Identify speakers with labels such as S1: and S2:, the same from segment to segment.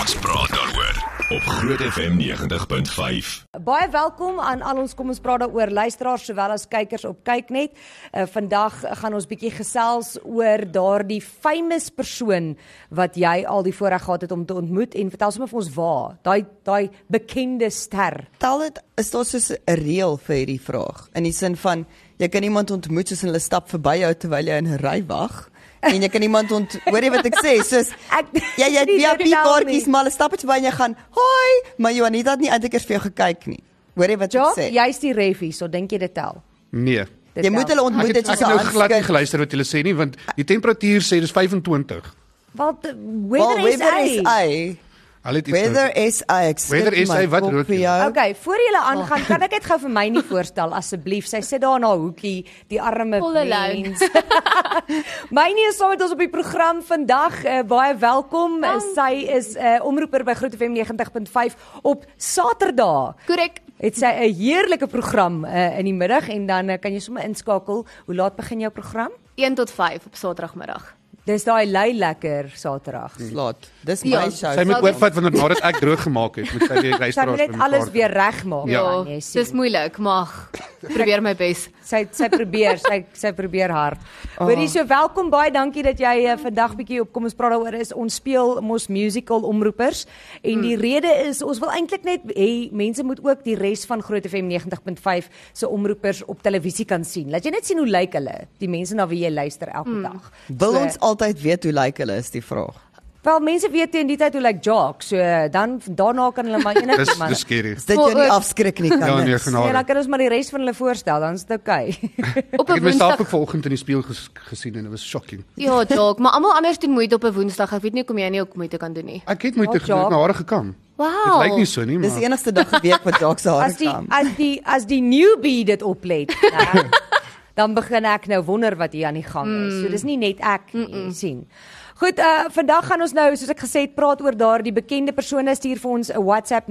S1: Ons praat daaroor op Groot FM 90.5.
S2: Baie welkom aan al ons kom ons praat daaroor luisteraars sowel as kykers op Kyknet. Uh, vandag gaan ons bietjie gesels oor daardie famous persoon wat jy al die voorreg gehad het om te ontmoet en vertel sommer vir ons waar. Daai daai bekende ster.
S3: Tel dit is daar soos 'n reël vir hierdie vraag in die sin van jy kan iemand ontmoet soos en hulle stap verby jou terwyl jy in 'n ry wag en jy kan iemand ont hoor jy wat ek sê soos
S2: Ek
S3: jy jy het
S2: nie
S3: VIP
S2: vertel
S3: kaartjies
S2: nie.
S3: maar hulle stap dit verby en jy gaan hoi maar Juanita het nie eintlik eers vir jou gekyk nie hoor jy wat
S2: Ja,
S3: ek sê
S2: jy's die refie, so dink jy dit tel.
S4: Nee.
S2: Dit
S3: jy moet
S2: tel.
S3: hulle
S4: Ek
S3: ontmoet
S4: het,
S3: dit
S4: ek
S3: soos
S4: het nou glad nie
S3: handskud.
S4: geluister wat julle sê nie want die temperatuur sê dis 25.
S2: Wat
S3: Wel,
S2: whether is
S3: whether is
S2: hy?
S3: I
S4: Hulle het iets
S3: whether
S4: nou-
S3: is I ek skud
S4: Whether is
S3: my
S4: I wat
S3: kop
S4: rook
S3: vir
S4: jy?
S3: jou.
S2: Okay, voor jy
S5: Oh.
S2: aangaan, kan ek dit gou vir my nie voorstel asseblief. Sy sit daar in haar hoekie, die arme
S5: All alone.
S2: mens. Mynie is saam met ons op die program vandag. Uh, baie welkom. Uh, sy is 'n uh, omroeper by Groot FM 90.5 op Saterdag.
S5: Korrek.
S2: Het sy 'n heerlike program uh, in die middag en dan uh, kan jy sommer inskakel. Hoe laat begin jou program?
S5: 1 tot 5 op Saterdagmiddag.
S2: Dis daai lei lekker Saterdag.
S3: Laat. Dis my
S5: Ja.
S3: show.
S4: Sy moet
S5: Sorry.
S4: oorvat want nadat ek droog gemaak het, moet sy weer
S2: Sy moet
S4: luisteraars
S2: net alles weer regmaak. nee,
S5: Ja,
S2: man, jy sien.
S5: dis moeilik, maar probeer my bes.
S2: Sy sy probeer, sy sy probeer hard. Hoorie
S4: Ah.
S2: so welkom baie dankie dat jy uh, vandag bietjie op kom ons praat daaroor is ons speel mos musical omroepers en
S4: Hmm.
S2: die rede is ons wil eintlik net hê mense moet ook die res van Groot FM 90.5 se omroepers op televisie kan sien. Laat jy net sien hoe lyk hulle, die mense na wie jy luister elke
S4: Hmm.
S2: dag.
S3: Wil
S2: So-
S3: ons altyd weet hoe lyk hulle is die vraag.
S2: Wel mense weet teen die tyd hoe lyk Jock, so dan daarna kan hulle maar enige
S4: Dis
S2: man.
S4: dis skerry.
S3: Is dit
S5: Maar
S3: jou nie
S5: ook-
S3: afskrik nie kan
S4: Ja, nee,
S3: niks.
S2: Ja, dan
S4: genade.
S2: kan ons maar die res van hulle voorstel, dan is dit oukei. Okay.
S5: Op
S4: Ek het
S5: 'n
S4: myself ook
S5: Woensdag.
S4: vanoggend in die spieël ges, gesien en dit was shocking.
S5: Ja, dalk, maar almal anders doen moeite op 'n Woensdag. Ek weet nie hoekom jy nie ook moeite kan doen nie.
S4: Ek het moeite
S2: Ja, ja.
S4: gedoen, my hare gekam. Dit
S5: Wow.
S4: lyk nie so nie,
S3: Dis die
S4: maar
S3: enigste dag 'n week wat Jacques se hare
S2: As die
S3: kam.
S2: as die as die newbie dit oplet, né, dan begin ek nou wonder wat hier aan die gang is. So dis nie net ek nie, jy sien. Goed, uh vandag gaan ons nou soos ek gesê het praat oor daardie bekende persone stuur vir ons 'n WhatsApp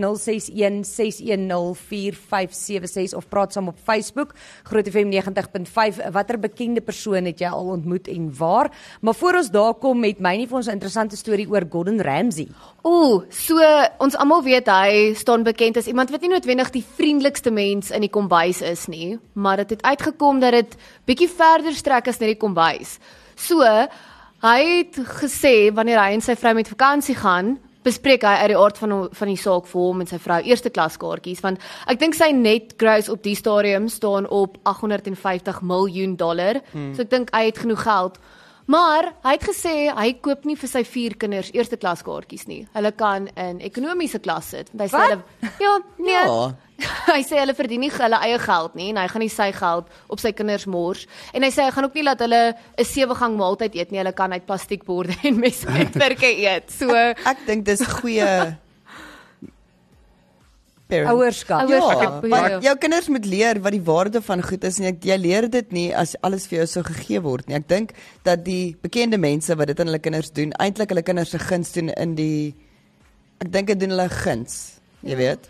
S2: 0616104576 of praat saam op Facebook Groot FM 90.5 watter bekende persoon het jy al ontmoet en waar? Maar voor ons daar kom met my nie vir ons 'n interessante storie oor Gordon Ramsay.
S5: Ooh, so ons almal weet hy staan bekend as iemand wat nie noodwendig die vriendelikste mens in die kombuis is nie, maar dit het uitgekom dat dit bietjie verder strek as net die kombuis. So, hy het gesê wanneer hy en sy vrou met vakansie gaan, bespreek hy uit die aard van hom- van die saak vir hom en sy vrou eerste klas kaartjies want ek dink sy net gross op die stadium staan op 850 miljoen dollar. Mm. So ek dink hy het genoeg geld Maar hy het gesê hy koop nie vir sy vier kinders eerste klas kaartjies nie. Hulle kan in ekonomiese klas sit. Want hy sê
S2: Wat?
S5: hulle ja, nee.
S3: Ja.
S5: hy sê hulle verdien nie hulle eie geld nie en hy gaan nie sy geld op sy kinders mors en hy sê hy gaan ook nie laat hulle 'n sewe gang maaltyd eet nie. Hulle kan uit plastiekborde en mes en vurke eet. So ja.
S3: Ek dink dis goeie Parents.
S2: Ouerskap.
S5: Ouers-
S3: Ja,
S5: Ouerskap, ja.
S3: want jou kinders moet leer wat die waarde van goed is en ek jy leer dit nie as alles vir jou so gegee word nie. Ek dink dat die bekende mense wat dit aan hulle kinders doen, eintlik hulle kinders se guns doen in die ek dink dit doen hulle guns. Jy weet.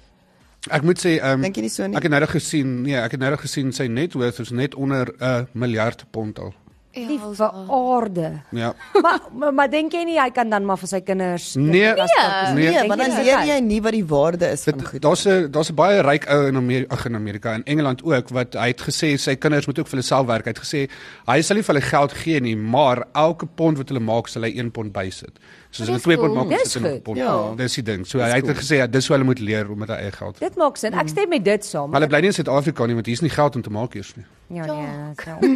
S4: ek moet sê, ehm
S3: Dink jy nie so nie?
S4: Ek het nou net gesien, nee, ek het nou net gesien sy net worth is net onder 'n uh, miljard pond al.
S2: Die verorde.
S4: Ja.
S2: maar maar, maar dink jy nie hy kan dan maar vir sy kinders
S3: Nee,
S4: Nee.
S5: Nee.
S2: dink
S3: want
S2: Ja. jy
S3: dan
S2: dis
S3: leer
S2: oukei?
S3: jy nie wat die waarde is van
S4: Dit
S3: goed.
S4: daar's 'n daar's 'n baie ryk ou in Amerika, ag in Amerika en Engeland ook wat hy het gesê sy kinders moet ook vir hulle self werk. Hy het gesê hy sal nie vir hulle geld gee nie, maar elke pond wat hulle maak, sal hy 1 pond bysit. So as hulle
S5: Dis
S4: 2 pond
S5: cool.
S4: maak, moet
S2: Dis
S4: sit in 'n
S2: goed.
S4: pond.
S3: Ja.
S4: Dis Ja. die ding. So hy het gesê ja, dis hoe hulle moet leer om met hulle eie geld.
S2: Dit maak sin. Ek stem met dit saam.
S4: Maar hulle bly nie in Suid-Afrika nie want hier's nie geld om te maak eers nie.
S2: Ja nee.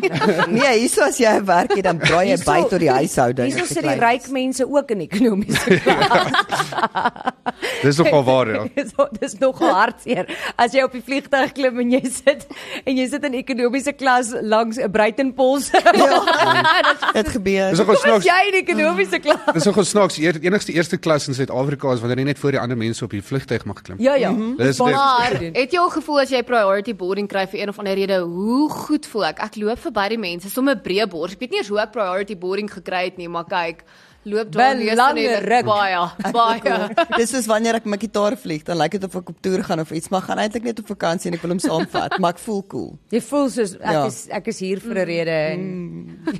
S3: Nee, hierso as jy werk het, dan braai jy by tot die huishouding.
S2: Hierso
S3: as jy
S2: sit die
S3: klein
S2: ryk mense ook in
S4: Ja.
S2: ekonomiese
S4: Dis nogal waar ja.
S2: dis dis nogal hartseer. As jy op die vliegtuig klim en jy sit en jy sit in ekonomiese klas langs 'n Breitenpols.
S3: is. Ja, Dit gebeur.
S4: Dis
S2: Kom
S4: nogal ja.
S2: as
S4: snaaks.
S2: jy in ekonomiese klas.
S4: Dis nogal snaaks. Die enigste eerste klas in Suid-Afrika is wanneer jy net voor die ander mense op die vliegtyg mag klim.
S2: Ja ja.
S4: Mhm. Dis dit.
S5: Maar het jy al gevoel as jy priority boarding kry vir een of ander rede, hoe goed voel ek? Ek loop verby die mense, sommer breë bors. Ek weet nie eers hoe ek priority boarding gekry het nie, maar kyk, loop dwars en jy
S2: Belangrik.
S5: weet baie, baie.
S3: Dis soos wanneer ek my gitaar vlieg, dan lyk dit of ek op toer gaan of iets, maar gaan eintlik net op vakansie en ek wil hom saamvat, maar ek voel cool.
S2: Jy voel soos ek ja.
S3: Ja.
S2: is ek is hier vir 'n rede en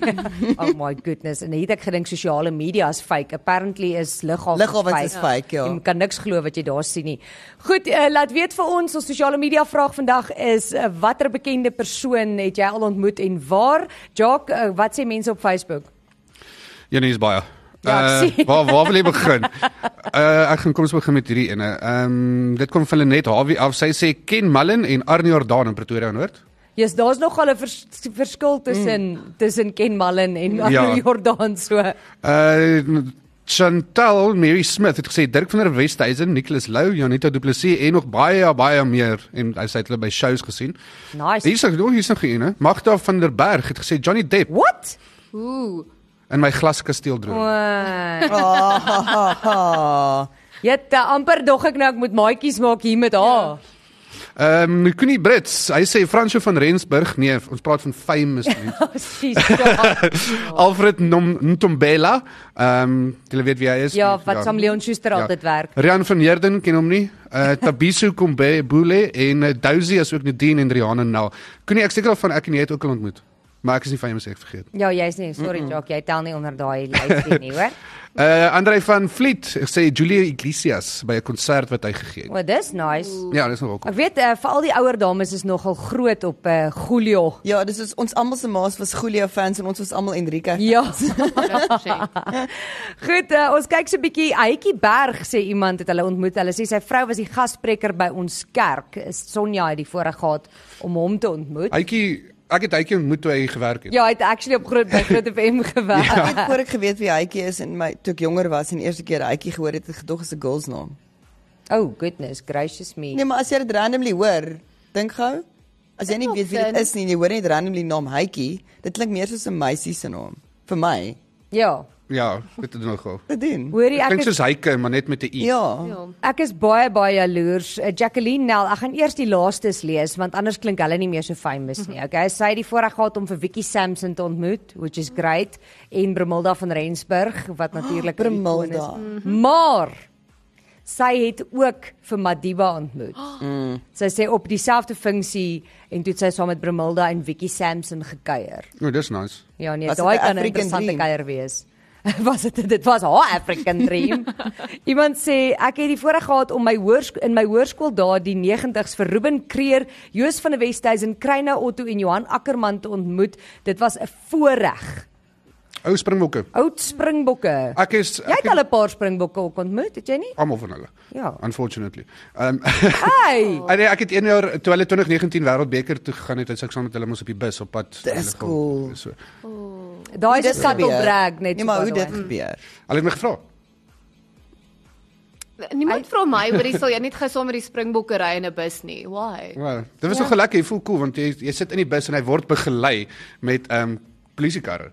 S2: oh my goodness en het ek gedink sosiale media is fake. Apparently is liggaal
S3: Lughawens is fake, ja.
S2: Jy kan niks glo wat jy daar sien nie. Goed, uh, laat weet vir ons ons sosiale media vraag vandag is uh, watter bekende persoon het jy al ontmoet en waar? Jock, uh, wat sê mense op Facebook?
S4: Janie nee, is baie.
S2: Ja, ek
S4: Eh,
S2: sien.
S4: waar waar wil jy begin? Uh ek gaan kom ons begin met hierdie ene. Ehm um, dit kom van Lenet Hawie af. Sy sê Ken Mullen en Arnie Jordan in Pretoria Noord.
S2: Jy's daar's nogal 'n vers, verskil tussen mm. tussen Ken Mullen en ja.
S4: Ja.
S2: Jordan so.
S4: Uh Chantal Mary Smith het gesê Dirk van der Westhuizen, Nicholas Lou, Janita Du Plessis en nog baie baie meer en hy sê hy het hulle by shows gesien.
S2: Nice.
S4: Hier is nog hier is nog eene. Magda van der Berg het gesê Johnny Depp
S2: What?
S5: Ooh.
S4: in my glaskasteel droom.
S2: Wow.
S3: Ah,
S2: Jette, amper dog ek nou ek moet maatjies maak hier met haar.
S4: Ehm um, Kuni Brits, hy sê Fransjo van Rensburg. Nee, ons praat van famous mense.
S2: Presies. Ja,
S4: Oh. Alfred Nom- Ntombela. Ehm um, jy weet wie hy is.
S2: ja, wat saam Leon Schuster altyd werk.
S4: Rian van Heerden ken hom nie. Uh Tabiso Kombebule en uh, Dousie is ook Nadine en Rihanna nou. Kuni ek seker al van ek en jy het ook al ontmoet. Maar ek is nie famous ek vergeet.
S2: Ja, jy's nie, sorry Jock, jy tel nie onder daai lysie nie, hoor.
S4: Uh Andre van Vliet ek sê Julia Iglesias by 'n konsert wat hy gegee het.
S2: Wat dis nice.
S4: Ja, dis nogal cool.
S2: Ek weet uh, vir al die ouer dames is nogal groot op uh, Julio.
S3: ja, dis is ons almal se maas was Julio fans en ons was almal Enrique.
S2: Ja.
S5: 100%.
S2: Goed, uh, ons kyk so 'n bietjie Hytjie Berg sê iemand het hulle ontmoet. Hulle sê sy vrou was die gaspreker by ons kerk. Sonja het die voorreg gehad om hom te ontmoet.
S4: Hytjie ek het hytjie ontmoet toe hy gewerk het.
S2: Ja, hy het actually op groot by Groot FM gewerk.
S3: Ek het voor ek geweet wie hytjie is en my toe ek jonger was en die eerste keer hytjie gehoor het, het ek gedog is 'n girls naam.
S2: Oh goodness gracious me.
S3: Nee, maar as jy dit randomly hoor, dink gou. As jy nie weet wie dit is nie, jy hoor net randomly naam hytjie, dit klink meer soos 'n meisie se naam vir my.
S2: Ja.
S4: Ja, dit is nogal.
S3: Dit doen.
S2: Hoorie Nee, ek
S4: Klink
S2: is
S4: soos hyke, maar net met 'n i.
S3: Ja.
S5: Ja.
S2: Ek is baie baie jaloers. Eh, Jacqueline Nel, ek gaan eers die laastes lees want anders klink hulle nie meer so famous nie. Okay, sy het die voorreg gehad om vir Vicky Sampson te ontmoet, which is great, en Brumilda van Rensburg wat natuurlik 'n icoon is.
S3: Brumilda.
S2: Maar sy het ook vir Madiba ontmoet. Sy sê op dieselfde funksie en toe het sy saam met Brumilda en Vicky Sampson gekuier.
S4: Nou, dis nice.
S2: Ja nee,
S3: Was dit
S2: daai
S3: een
S2: kan 'n
S3: African
S2: interessante
S3: dream?
S2: kuier wees. Was dit dit was haar African dream. Iemand sê ek het die voorreg gehad om my hoërskool in my hoërskool dae die 90s vir Ruben Kreer, Joos van die Westhuizen, Kreyna Otto en Johan Ackerman te ontmoet. Dit was 'n voorreg.
S4: Ou springbokke.
S2: Oud springbokke.
S4: Ek is
S2: Jy
S4: ek
S2: het
S4: het
S2: al 'n paar springbokke ook ontmoet, het jy nie?
S4: almal van hulle.
S2: Ja.
S4: Unfortunately. Ehm
S2: Hey.
S4: Ah, nee, ek het 1 jaar toe hulle 2019 wêreldbeker toe gegaan het, het ek saam met hulle mos op die bus op pad.
S3: Dis
S4: hulle gaan-
S3: cool.
S4: So.
S2: Daai is 'n subtle
S3: gebeur.
S2: brag net.
S3: Nee,
S2: so,
S3: maar
S2: by
S3: hoe
S2: the
S3: dit
S2: way.
S3: gebeur.
S4: Hulle het my gevra.
S5: Niemand vra my oor die sal jy net gou saam met die springbokke ry in 'n bus nie. Why?
S4: Wel, dit was ja. nogal lekker, jy voel cool want jy jy sit in die bus en hy word begelei met ehm um, polisiekarre.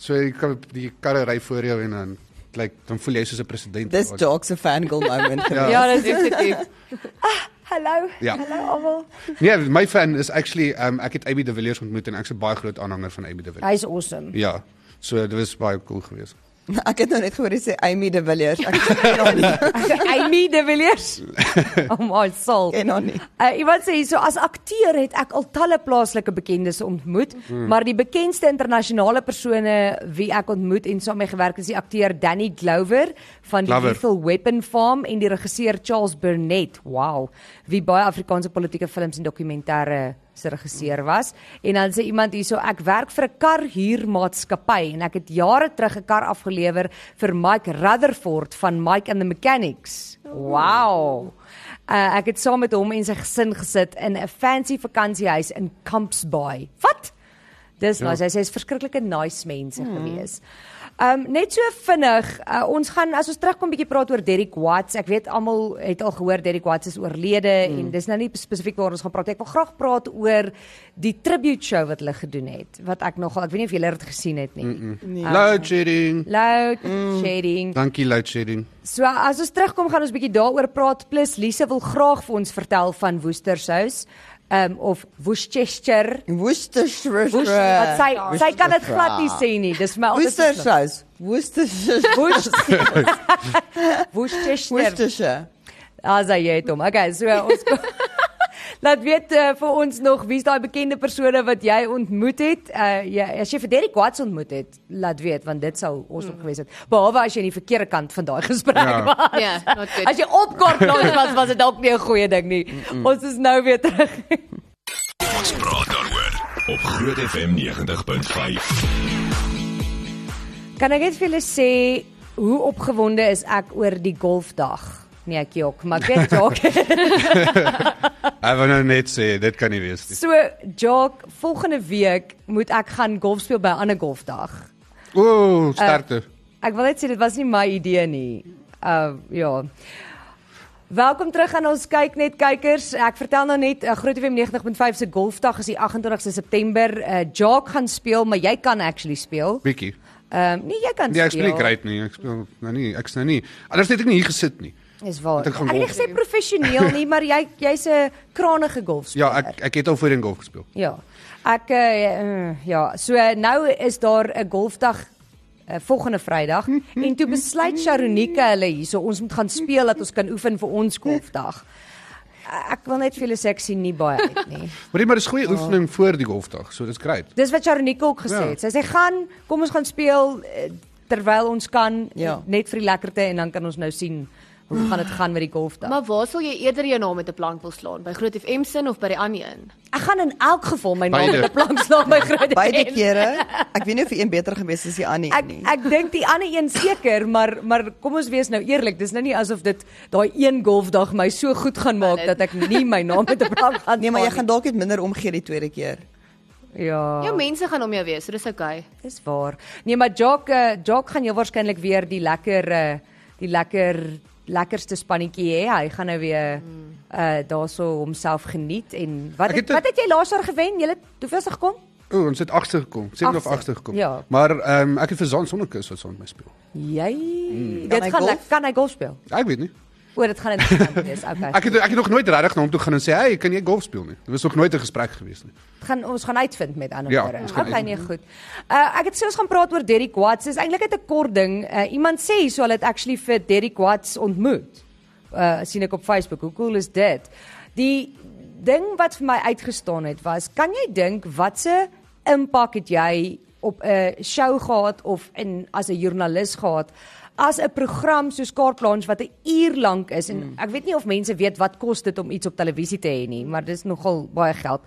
S4: So jy kan die karre ry voor jou en dan like dan voel jy soos 'n president.
S3: Dis Jock se fangirl moment.
S4: Mm. Ja.
S2: Ja, dis
S5: Definitief.
S2: hallo.
S4: Ja.
S2: Hallo almal.
S4: Nee, my fan is actually ehm um, ek het AB de Villiers ontmoet en ek's 'n baie groot aanhanger van AB de Villiers.
S2: Hy's awesome.
S4: Ja. So dit was baie cool geweest.
S3: Ek het nou net gehoor jy sê Amy de Villiers. Ek ken haar nie.
S2: Amy De Villiers. Oh my soul.
S3: Ken haar nie.
S2: Uh, iemand sê hierso as akteur het ek al talle plaaslike bekendes ontmoet, mm. maar die bekendste internasionale persone wie ek ontmoet en saam mee gewerk het is die akteur Danny Glover van die
S4: Glover.
S2: Lethal Weapon Farm en die regisseur Charles Burnett. Wow, wie baie Afrikaanse politieke films en dokumentêre se regisseur was. En dan sê iemand hierso ek werk vir 'n karhuurmaatskappy en ek het jare terug 'n kar afgelewer vir Mike Rutherford van Mike and the Mechanics. Wow. Uh, ek het saam met hom en sy gesin gesit in 'n fancy vakansiehuis in Camps Bay. Wat? Dis ja. nice. Hy sê is verskriklike nice mense hmm. gewees. Um net so vinnig, uh, ons gaan as ons terugkom bietjie praat oor Derrick Watts. Ek weet almal het al gehoor Derrick Watts is oorlede hmm. en dis nou nie spesifiek waar ons gaan praat. nie. Ek wil graag praat oor die tribute show wat hulle gedoen het. Wat ek nogal, ek weet nie of julle dit gesien het nie. Mm -mm.
S4: Nee. Load shedding.
S2: Loud shading.
S4: Dankie load shedding.
S2: So as ons terugkom gaan ons bietjie daaroor praat plus Lise wil graag vir ons vertel van Worcestershire um of Worcestershire
S3: Worcestershire.
S2: Woes, wat sy sy kan dit glad nie sê nie. Dis vir my altyd
S3: Worcestershire. Worcestershire.
S2: Worcestershire. Worcestershire.
S3: Worcestershire.
S2: As jy het hom. Okay, so ons kom- Laat weet uh, vir ons nog wie's daai bekende persone wat jy ontmoet het. Uh jy as jy vir Derek Watts ontmoet het, laat weet want dit sou
S5: Hmm.
S2: awesome mm. gewees het. Behalwe as jy aan die verkeerde kant van daai gesprek ja.
S4: Ja.
S2: was.
S5: Ja, not good.
S2: As jy opkort langs was, was dit dalk nie 'n goeie ding nie. Mm -mm. Ons is nou weer terug.
S1: Ons praat daaroor op Groot FM 90.5.
S2: Kan ek net vir julle sê hoe opgewonde is ek oor die golfdag? Nee, ek jok, maar ek weet jok.
S4: Ek wou nou net sê dit kan nie wees nie.
S2: so jok, volgende week moet ek gaan golf speel by 'n ander golfdag.
S4: Ooh, sterkte.
S2: Ek wil net sê dit was nie my idee nie. Uh ja. Welkom terug aan ons kyk net kykers. Ek vertel nou net uh, Groot FM 90.5 se golfdag is die 28ste September. Uh Jock gaan speel, maar jy kan actually speel.
S4: Bietjie.
S2: Ehm um, nee, jy kan
S4: Nee, ek
S2: speel.
S4: speel nie great nie. Ek speel nou nie. Ek's nou nie. Anders het ek nie hier gesit nie.
S2: Dis waar.
S4: Want ek
S2: Ek
S4: gaan
S2: het nie
S4: golf.
S2: gesê professioneel nie, maar jy jy's 'n kranige golfspeler.
S4: Ja, ek ek het al voorheen golf gespeel.
S2: Ja. Ek eh, eh, ja, so eh, nou is daar 'n golfdag uh, volgende Vrydag en toe besluit Sharonika hulle hierso ons moet gaan speel dat ons kan oefen vir ons golfdag. Eh, Ek wil net vir julle sê ek sien nie baie uit nie.
S4: Maar dit maar dis goeie
S2: Ja.
S4: oefening voor die golfdag. So dis great.
S2: Dis wat Sharonika ook gesê
S4: Ja.
S2: het. Sy sê gaan, kom ons gaan speel eh, terwyl ons kan
S3: Ja.
S2: net vir die lekkerte en dan kan ons nou sien hoe gaan dit gaan met die golfdag.
S5: Maar waar sal jy eerder jou naam met 'n plank wil slaan? By Groot FM sin of by die ander een?
S2: Ek gaan in elk geval my naam
S4: Beide.
S2: op 'n plank slaan by Groot
S3: Beide
S2: FM.
S3: kere. Ek weet nie of die een beter gewees is as die ander
S2: Ek
S3: een nie.
S2: ek dink die ander een seker, maar maar kom ons wees nou eerlik, dis nou nie asof dit daai een golfdag my so goed gaan maak dat ek nie my naam met 'n plank gaan
S3: Nee, maar jy
S2: staan
S3: gaan dalk net minder omgee die tweede keer.
S2: nie. ja.
S5: Jou mense gaan om jou wees, so dis okay.
S2: Dis waar. Nee, maar Jock uh, Jock gaan heel waarskynlik weer die lekker uh, die lekker lekkerste spannetjie hê. Hy gaan nou weer
S3: Hmm.
S2: uh daarso homself geniet en wat
S4: Ek
S2: het, het,
S4: het dit-
S2: wat het jy laas jaar gewen? Jy het hoeveelste er gekom?
S4: Ooh, ons het 8ste gekom. 7 of 8ste
S2: Agste,
S4: gekom.
S2: ja.
S4: Maar ehm um, ek het vir Zon Sonnekus wat saam met my speel.
S2: Jy mm.
S3: Hmm. Kan
S2: dit
S3: hy
S2: gaan
S3: golf?
S2: lek- kan hy golf speel.
S4: Ek weet nie.
S2: O, dit gaan interessant wees. Okay.
S4: Ek het ek het nog nooit regtig na hom toe gaan en sê, "Hey, kan jy golf speel nie?" Dit was nog nooit 'n gesprek gewees nie.
S2: gaan ons gaan uitvind met ander
S4: Ja,
S2: woorde.
S4: ons gaan
S2: Okay, nee, goed. Uh ek het sê ons gaan praat oor Derrick Watts. Dis eintlik net 'n kort ding. Uh iemand sê so hulle het actually vir Derrick Watts ontmoet. Uh sien ek op Facebook. Hoe cool is dit? Die ding wat vir my uitgestaan het was, kan jy dink watse impak het jy op 'n show gehad of in as 'n joernalis gehad? as 'n program soos Kaartplans wat 'n uur lank is en
S4: Hmm.
S2: mm. ek weet nie of mense weet wat kos dit om iets op televisie te hê nie, maar dis nogal baie geld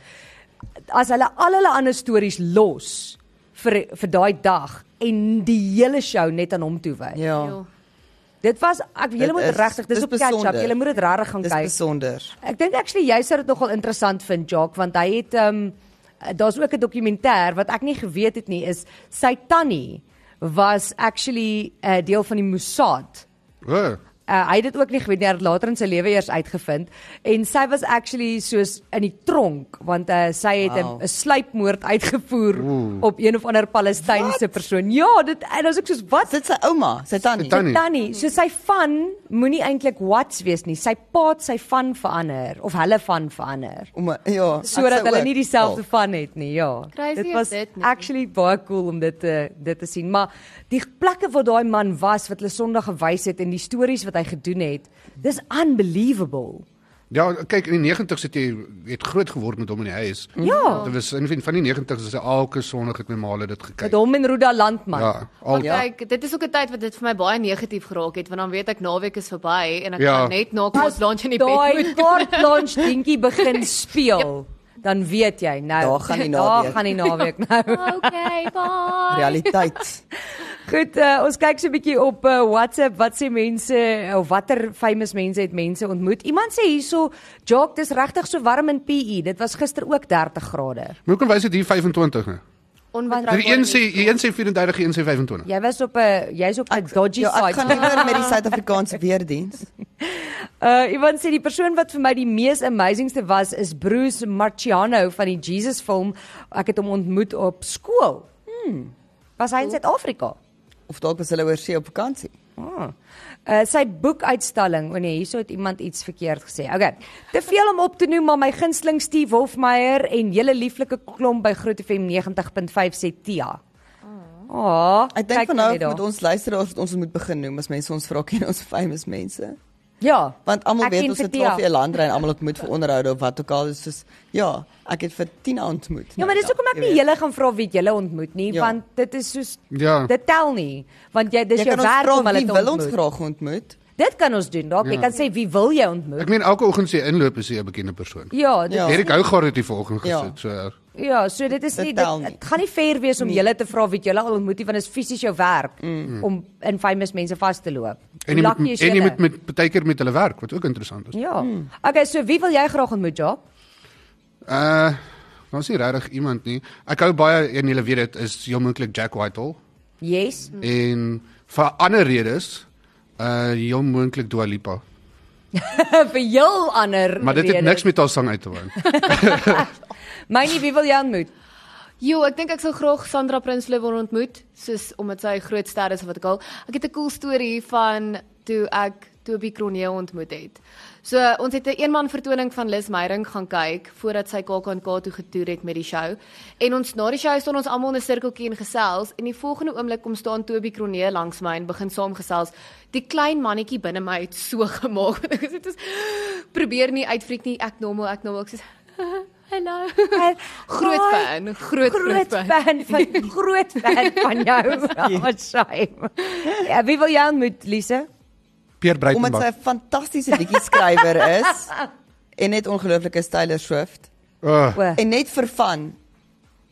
S2: as hulle al hulle ander stories los vir vir daai dag en die hele show net aan hom toewy. Ja.
S3: Ja.
S5: Jo.
S2: Dit was ek
S3: Dit
S2: julle moet
S3: is-
S2: regtig dis
S3: dis
S2: op catch-up.
S3: besonder.
S2: Julle moet dit regtig gaan
S3: Dis
S2: kyk.
S3: besonder.
S2: Ek dink actually jy sou dit nogal interessant vind Jacques want hy het ehm um, daar's ook 'n dokumentêr wat ek nie geweet het nie is sy tannie was actually 'n uh, deel van die Mossad.
S4: O,
S2: Uh, hy het dit ook nie geweet nie, hy het later in sy lewe eers uitgevind en sy was actually soos in die tronk want uh, sy het 'n
S3: Wow.
S2: wow. sluipmoord uitgevoer Ooh. op een of ander Palestynse persoon. Ja, dit en as ek soos wat
S3: Dit sy ouma, sy tannie.
S4: Sy
S2: Tannie.
S4: tannie.
S2: Tannie, so sy van moenie eintlik what's wees nie. Sy paat sy van verander of hulle van verander
S3: Om ja, ek
S2: sodat
S3: sou
S2: hulle
S3: ook-
S2: nie dieselfde
S3: Oh.
S2: van het nie. Ja.
S5: Crazy
S2: dit
S5: is
S2: was
S5: dit nie.
S2: actually baie cool om dit te dit te sien, maar die plekke waar daai man was wat hulle Sondag gewys het en die stories wat hy gedoen het, dis unbelievable.
S4: ja, kyk, in die 90's het jy het groot geword met hom in die huis.
S2: Ja.
S4: Dit was in die- van die 90's is elke Sondag het my ma hulle dit gekyk.
S2: Met hom en Ruda Landman.
S4: Ja,
S5: Maar
S4: al
S5: ja. kyk, dit is ook 'n tyd wat dit vir my baie negatief geraak het want dan weet ek naweek is verby en ek
S4: Ja.
S5: ja. gaan net na kos lunch in die bed
S2: Daai
S5: moet.
S2: kort lunch dingetjie begin speel. Dan weet jy nou.
S3: Daar gaan die
S2: Daar
S3: naweek.
S2: gaan die naweek nou.
S5: Okay, bye.
S3: realiteit.
S2: Goed, uh, ons kyk so 'n bietjie op uh, WhatsApp wat sê mense eh, of watter famous mense het mense ontmoet. Iemand sê hierso, "Jock, dis regtig so warm in PE. Dit was gister ook 30 grade."
S4: Moet kan wys dit hier 25 nou.
S5: Onbetroubaar.
S4: Die een sê die een sê 34, die een sê 25.
S2: Jy was op 'n jy's op 'n dodgy
S3: Ja, ek gaan
S2: site.
S3: liewer met die Suid-Afrikaanse weerdiens.
S2: Uh iemand sê die persoon wat vir my die mees amazingste was is Bruce Marciano van die Jesus film. Ek het hom ontmoet op skool. Hmm. Was hy in Suid-Afrika?
S3: Of dalk was hulle oor see op vakansie.
S2: Ah. Uh, sy boekuitstalling, o oh nee, hierso het iemand iets verkeerd gesê. Okay. Te veel om op te noem, maar my gunsteling Steve Hofmeyer en julle lieflike klomp by Groot FM 90.5 sê Tia. Ah, Oh,
S3: Ek dink van nou af moet ons luisteraars ons moet begin noem as mense ons vra ken ons famous mense.
S2: Ja,
S3: Want almal
S2: Ek
S3: weet
S2: ken
S3: ons het
S2: Vertea.
S3: 12 jaar landry en almal ontmoet vir onderhoude of wat ook al. Dis soos ja, ek het vir Tina ontmoet. Nou,
S2: Ja, maar dis hoekom ek nie julle gaan vra wie het julle ontmoet nie,
S3: Ja.
S2: ja. want dit is soos
S4: Ja.
S2: dit tel nie, want jy dis
S3: Jy
S2: jou
S3: kan ons
S2: werk
S3: vra
S2: om hulle
S3: wie
S2: te
S3: wil ons
S2: ontmoet.
S3: graag ontmoet.
S2: Dit kan ons doen, dalk. Ja. Jy kan sê wie wil jy ontmoet?
S4: Ek meen elke oggend sê inloop is 'n bekende persoon.
S2: Ja, dit,
S3: Ja.
S2: ja.
S4: Erik Hougaard het die volgende
S3: Ja.
S4: gesit. So eh,
S2: ja, so dit is
S3: Dit
S2: nie
S3: tel
S2: dit,
S3: nie.
S2: dit gaan nie fair wees om julle te vra wie het julle al ontmoet nie, want dit is fisies jou werk mm. om in famous mense vas te loop.
S4: en jy
S2: Lucky
S4: moet
S2: is
S4: en jy
S2: julle.
S4: moet met baie keer met hulle werk wat ook interessant is.
S2: Ja. Mm. Okay, so wie wil jy graag ontmoet, Job?
S4: Uh ons is regtig iemand nie. Ek hou baie en julle weet dit is heel moontlik Jack Whitehall
S2: Yes.
S4: en vir ander redes uh heel moontlik Dua Lipa.
S2: Vir heel ander
S4: Maar dit het
S2: redes.
S4: niks met haar sang uit te doen.
S2: Mynie, wie wil jy ontmoet?
S5: Jo, ek dink ek sou graag Sandra Prinsloo wil ontmoet, soos omdat sy 'n groot ster is of wat ek al. Ek het 'n cool storie van toe ek Toby Cronje ontmoet het. So ons het 'n eenman vertoning van Lis Meyering gaan kyk voordat sy KAKNK toe getoer het met die show. En ons na die show staan ons almal in 'n sirkeltjie en gesels en die volgende oomblik kom staan Toby Cronje langs my en begin saamgesels. Die klein mannetjie binne my het so gemaak. Ek sê dit is probeer nie uitfriek nie. Ek normaal, ek normaal. Ek sê hello. Groot fan, groot, groot
S2: groot
S5: fan.
S2: fan van groot fan van jou. Wat shame. Ja, wie wil jou ontmoet, Lise?
S4: Pierre
S3: Omdat sy
S4: Breitenbach.
S3: 'n fantastiese liedjie-skrywer is en net ongelooflike Taylor Swift
S4: Uh,
S2: O.
S3: en net vir fun.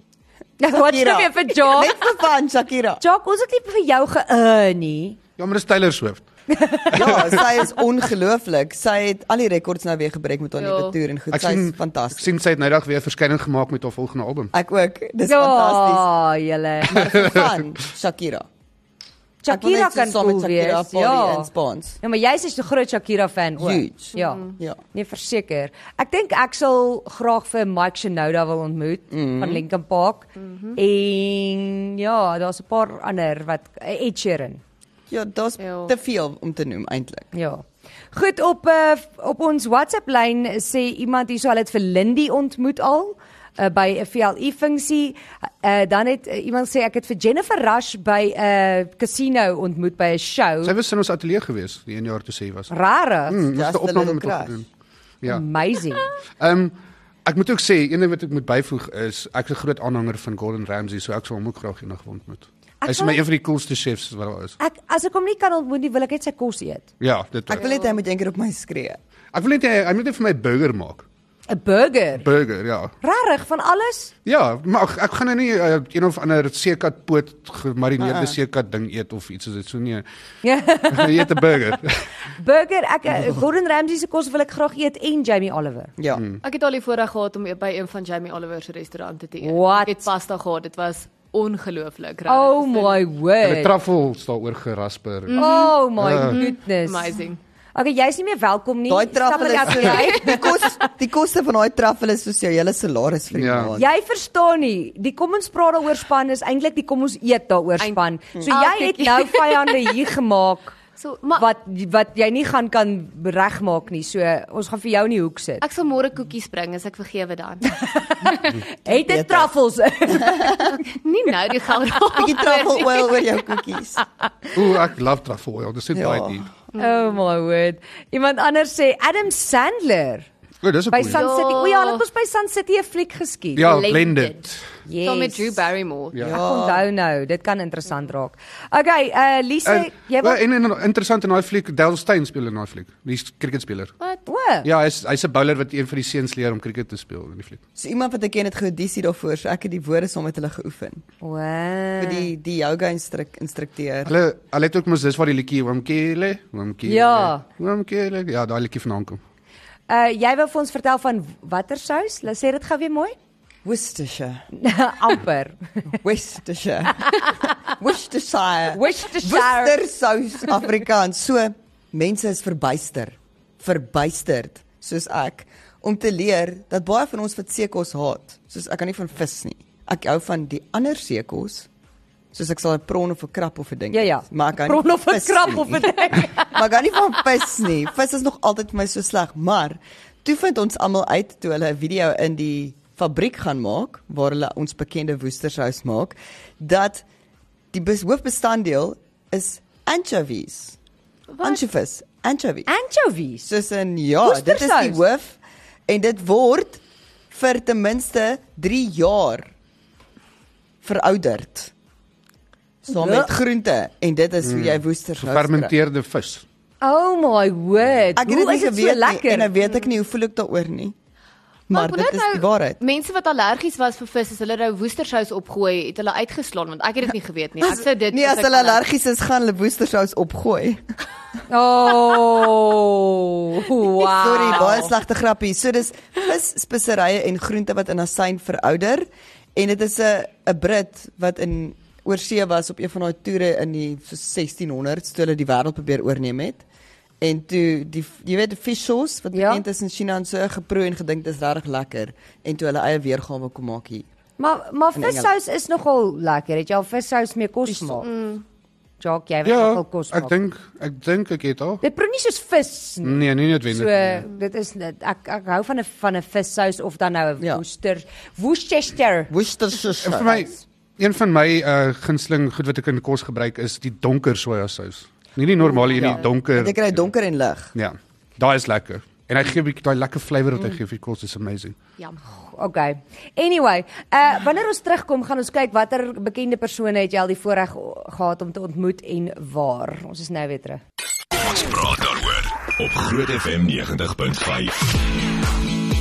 S2: Wat sê jy vir Jock?
S3: Net vir fun Shakira.
S2: Jock, ons het nie vir jou geëer nie.
S4: ja, maar dis Taylor Swift.
S3: Ja, sy is ongelooflik. Sy het al die rekords nou weer gebreek met haar
S5: Ja.
S3: nuwe toer en goed.
S4: Ek
S3: Sy is
S4: sien ek
S3: fantasties.
S4: sien sy het nou dag weer 'n verskyning gemaak met haar volgende album.
S3: Ek ook. Dis
S2: Ja,
S3: fantasties.
S2: julle.
S3: Van Shakira. Ek wil
S2: Shakira
S3: net so
S2: kan
S3: saam met
S2: cool
S3: Shakira
S2: wees.
S3: party
S2: Ja.
S3: in Spaans.
S2: Ja, maar jy's 'n groot Shakira fan ook.
S3: Huge.
S2: Ja.
S3: Ja.
S2: Nee, verseker. Ek dink ek sal graag vir Mike Shinoda wil ontmoet mm -hmm. van Linkin Park. Mm -hmm. En ja, daar's 'n paar ander wat Ed Sheeran.
S3: Ja, daar's
S5: Ja.
S3: te veel om te noem eintlik.
S2: Ja. Goed op uh, op ons WhatsApp lyn sê iemand hierso hulle het vir Lindy ontmoet al uh, by 'n VLI funksie. Uh, dan het uh, iemand sê ek het vir Jennifer Rush by 'n uh, casino ontmoet by 'n show.
S4: Sy was in ons ateljee gewees die een jaar toe sy was.
S2: Rarig.
S4: Mm, ons het
S3: Just
S4: 'n
S3: a little
S4: opname met haar
S3: crush.
S4: gedoen. Ja.
S2: Amazing.
S4: Ehm um, ek moet ook sê een ding wat ek moet byvoeg is ek is 'n groot aanhanger van Gordon Ramsay, so ek sal hom ook graag eendag wil ontmoet. Hy is vir my
S2: wil-
S4: een van die coolste chefs wat daar is.
S2: Ek as ek hom nie kan ontmoet nie, wil ek net sy kos eet.
S4: Ja, dit
S3: Ek
S4: ek,
S3: wil net hy moet eendag op my skree.
S4: ek wil net hy, hy moet net vir my burger maak.
S2: 'n Burger.
S4: Burger, ja.
S2: Rarig van alles.
S4: Ja, maar ek, ek gaan nou nie uh, een of ander seekat poot gemarineerde
S3: Ah,
S4: uh -uh. seekat ding eet of iets soos dit so nie.
S2: Ja.
S4: Ek gaan eet 'n burger.
S2: Burger, ek eh, Gordon Ramsay se kos wil ek graag eet en Jamie Oliver.
S3: Ja.
S4: Mm.
S5: Ek het al die voorreg gehad om by een van Jamie Oliver se restaurante te eet.
S2: What?
S5: Ek het pasta gehad. Dit was ongelooflik. regtig.
S2: Oh my
S4: Hulle
S2: word.
S4: truffels daaroor gerasper. Mm.
S2: Oh my goodness.
S5: amazing.
S2: Okay, jy's nie meer welkom nie.
S3: Daai
S2: Stap
S3: truffel
S2: in die
S3: is
S2: ateljee.
S3: die kos die koste van daai truffel is soos jou hele salaris vir die
S4: Ja.
S3: maand.
S2: Jy verstaan nie, die kom ons praat daaroor span is eintlik die kom ons eet daaroor
S5: Eind-
S2: span. So
S5: Elke
S2: jy het
S5: keer.
S2: nou vyande hier gemaak
S5: So maar Wat?
S2: wat wat jy nie gaan kan regmaak nie. So ons gaan vir jou in die hoek sit.
S5: ek sal môre koekies bring as ek vergewe dan.
S2: Het dit truffels.
S5: nie nou die geld raak.
S3: Bietjie truffel oil oor jou koekies.
S4: Ooh, ek love truffle oil. Dis net
S3: Ja.
S4: baie duur.
S2: oh my word. Iemand anders sê Adam Sandler
S4: O, dis 'n
S2: by
S4: goeie.
S2: Sun
S5: Ja.
S2: City. O ja, hulle het ons by Sun City 'n fliek geskiet.
S4: Ja, blended.
S5: Blended.
S2: yes.
S5: Saam met Drew Barrymore.
S4: Ja.
S2: Ek onthou nou, dit kan interessant raak. Okay, uh Lise, jy wil
S4: Eh, en, en interessant in daai fliek Dale Steyn speel in daai fliek, die s- cricketspeler.
S5: Wat?
S2: o,
S4: Ja, hy's hy's 'n bowler wat een van die seuns leer om cricket te speel in die fliek.
S3: So iemand wat ek ken het geaudisie daarvoor, so ek het die woorde saam met hulle geoefen.
S2: Wow.
S3: Vir die die yoga instruk instrukteur.
S4: Hulle hulle het ook mos dis waar die liedjie Wamkele, Wamkele.
S2: Ja.
S4: Wamkele. Ja, daai liedjie vandaan kom.
S2: Uh jy wou vir ons vertel van watter sous? Laat sê dit gou weer mooi.
S3: Worcestershire.
S2: Amper.
S3: Worcestershire. Worcestershire.
S2: Worcestershire.
S3: Worcester sous Afrikaans. So mense is verbuister, verbuisterd soos ek om te leer dat baie van ons wat seekos haat, soos ek kan nie van vis nie. Ek hou van die ander seekos. Soos ek sal 'n pron of 'n krap of 'n ding.
S2: Ja
S3: eet,
S2: ja.
S3: Maar ek kan
S2: Bron of 'n krap of 'n ding.
S3: Maar ek kan nie van vis nie. Vis is nog altyd vir my so sleg, maar toe vind ons almal uit toe hulle 'n video in die fabriek gaan maak waar hulle ons bekende woestersous maak dat die bes, hoofbestanddeel is anchovies. Anchovies, anchovies.
S2: Anchovies.
S3: Soos in ja, dit is die
S2: Oestersaus.
S3: hoof en dit word vir ten minste 3 jaar verouderd. Saam met groente en dit is hoe jy woestersous kry.
S4: Gefermenteerde vis.
S2: Oh my word.
S3: Ek het dit
S2: Hoe
S3: nie
S2: is dit so
S3: geweet nie
S2: lekker?
S3: en nou weet ek nie hoe voel ek daaroor nie. Maar
S5: ek
S3: dit
S5: wonder
S3: is
S2: nou
S3: die waarheid.
S5: nou Mense wat allergies was vir vis, as hulle nou woestersous opgooi, het hulle uitgeslaan want ek het dit nie geweet nie. Ek sou dit
S3: Nee, as
S5: ek
S3: hulle
S2: nou-
S5: kan-
S3: allergies is, gaan hulle woestersous opgooi.
S2: Oh. Wow.
S3: Sorry, baie slegte grappie. So dis vis, speserye en groente wat in asyn verouder en dit is 'n 'n Brit wat in oorsee was op een van daai toere in die so 1600s toe hulle die wêreld probeer oorneem het. En toe die jy weet die fish sauce wat
S2: Ja.
S3: bekend is in China en so geproe en gedink dis regtig lekker en toe hulle eie weergawe kom maak hier.
S2: Maar maar
S3: In Engeland.
S2: vissous is nogal lekker. Het jy al vissous mee kos maak?
S3: Mm.
S2: Jock, jy weet
S4: Ja,
S2: nogal kos
S4: ek
S2: maak.
S4: dink ek dink ek het al.
S2: Dit proe nie soos vis nie.
S4: Nee, nie
S2: So
S4: noodwendig. nie.
S2: dit is net ek ek hou van 'n van 'n vissous of dan nou 'n
S3: Ja.
S2: Worcester Worcester.
S3: Worcestershire.
S4: En vir my een van my uh gunsteling goed wat ek in kos gebruik is die donker sojasous. Nie die normale een,
S2: ja.
S4: die donker.
S3: Dit kry donker en lig.
S4: Ja. Daai is lekker. En hy gee 'n bietjie daai lekker flavour wat hy gee vir die kos is amazing.
S5: Ja.
S2: Okay. Anyway, uh wanneer ons terugkom gaan ons kyk watter bekende persone het jy al die voorreg o- gehad om te ontmoet en waar. Ons is nou weer terug.
S1: Ons praat daaroor op Groot FM 90.5.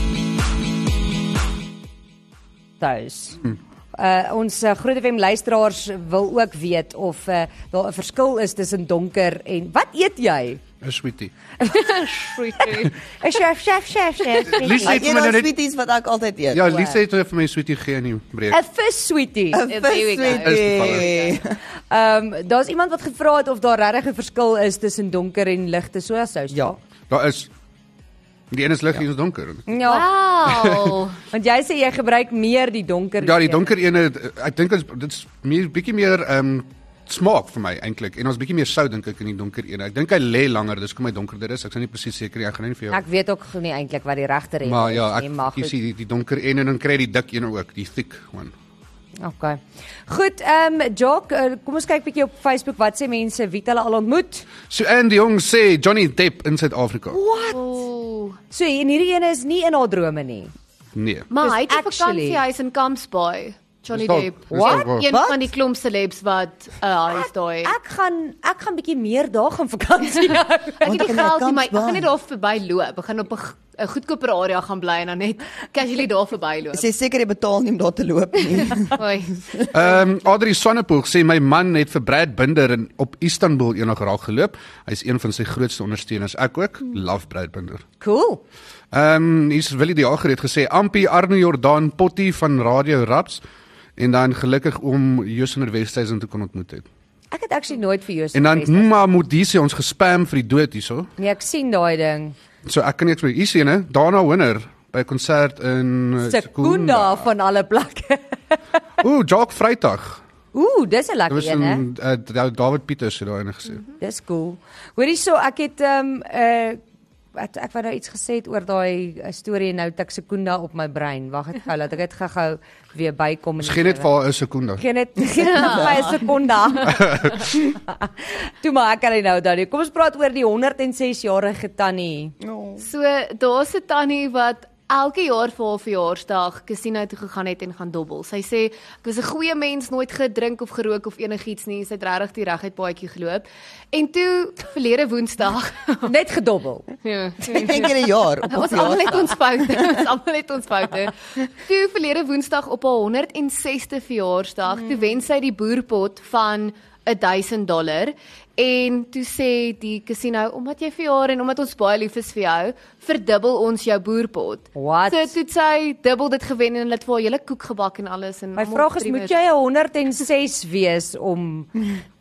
S2: tuis.
S4: Hm.
S2: Uh ons uh, Groot FM luisteraars wil ook weet of uh, daar 'n verskil is tussen donker en wat eet jy?
S4: 'n Sweetie.
S5: Sweetie.
S2: Is jy chef chef chef?
S4: Lies
S2: chef.
S4: het
S3: Ek
S4: vir
S3: eet
S4: my
S3: al
S4: nou net
S3: sweeties wat ek altyd eet.
S4: Ja, Lise het vir my 'n sweetie gegee in die breek.
S2: 'n Vis sweetie.
S3: Vis
S5: There we go.
S3: sweetie.
S2: Ehm um, daar's iemand wat gevra het of daar regtig 'n verskil is tussen donker en ligte sojasous.
S3: Ja.
S4: Daar is die een is lig, die een is donker.
S2: Ja,
S5: Wow.
S2: want jy sê jy gebruik meer die donker.
S4: Ja, die donker ene, ek dink ons dit's meer bietjie meer ehm um, smaak vir my eintlik en ons bietjie meer sout dink ek in die donker ene. Ek dink hy lê langer, dis kom hy donkerder is. Ek is nie presies seker nie, ek gaan nou nie vir jou.
S2: Ek weet ook nie eintlik wat die regter een
S4: maar
S2: is
S4: ja,
S2: nie,
S4: ek
S2: maar
S4: jy
S2: goed.
S4: sien die, die donker een en dan kry jy die dik een ook, die thick one.
S2: Okay. Goed, ehm um, Jock, eh, kom ons kyk bietjie op Facebook wat sê mense wie het hulle al ontmoet.
S4: So en die jong sê Johnny Depp in Suid-Afrika.
S5: Ooh.
S2: So en hierdie een is nie in haar drome nie.
S4: Nee.
S5: Maar
S2: Dis
S5: hy het 'n
S2: actually-
S5: vakansiehuis in Camps Bay. Johnny
S4: Dis dalk-
S5: Depp.
S4: dis dalk waar.
S5: Een
S3: Wat?
S5: van die klomp celebs wat 'n huis daai.
S2: Ek gaan ek gaan bietjie meer daar gaan vakansie hou.
S5: Ek het
S3: Want
S5: nie
S3: ek kan
S5: geld nie,
S3: Camps
S5: maar ek
S3: Bay.
S5: gaan net daar verby loop. Ek gaan op 'n g- 'n goedkoper area gaan bly en dan net casually daar verby loop.
S3: Is jy seker jy betaal nie om daar te loop nie?
S5: Oei.
S4: Ehm um, Adri Swanepoel sê my man het vir Brad Binder in op Istanbul eendag raak geloop. Hy's een van sy grootste ondersteuners. Ek ook. Love Brad Binder.
S2: Cool.
S4: Ehm um, hier's Willie die Jager het gesê Ampi Arno Jordan Potty van Radio Raps en dan gelukkig om Josener Westhuizen te kon ontmoet het.
S2: Ek het actually nooit vir jou
S4: En dan
S2: gesê.
S4: Mma Modise ons gespam vir die dood hierso.
S2: Nee, ek sien daai ding.
S4: So ek kan niks meer. Hier's eene, Dana Winner by 'n konsert in eh,
S2: Sekunda van alle plekke.
S4: Ooh, Jock Vrydag.
S2: Ooh, dis 'n
S4: Dit
S2: lekker
S4: was
S2: een, hè. Mhm.
S4: in uh, David Pieters het daai ene gesê.
S2: Dis cool. Hoorie so, ek het ehm um, uh wat ek wou nou iets gesê het oor daai eh, storie en nou tik Sekunda op my brein. Wag ek gou, laat ek dit gou-gou weer bykom en
S4: Ons gee net vir haar 'n sekonde.
S2: Geen net geen net
S3: Ja.
S2: vir my 'n sekonde. Toe maar ek kan nie nou dan. Kom ons praat oor die 106 jarige tannie.
S5: So daar's 'n tannie wat elke jaar vir haar verjaarsdag casino toe gegaan het en gaan dobbel. Sy sê ek was 'n goeie mens, nooit gedrink of gerook of enigiets nie. Sy het regtig die reguit paadjie geloop. En toe verlede Woensdag,
S2: Net gedobbel.
S5: ja,
S3: Ek dink in 'n jaar op
S5: ons almal het ons foute, ons almal het ons foute. Toe verlede Woensdag op haar 106ste verjaarsdag,
S2: Mm.
S5: toe wen sy die boerpot van 1000 dollar en toe sê die casino omdat jy verjaar en omdat ons baie lief is vir jou, verdubbel ons jou boerpot.
S2: What?
S5: So toe het sy dubbel dit gewen en hulle het vir haar hele koek gebak en alles en
S2: My
S5: almal
S2: vraag is
S5: streamers.
S2: moet jy 'n 106 wees om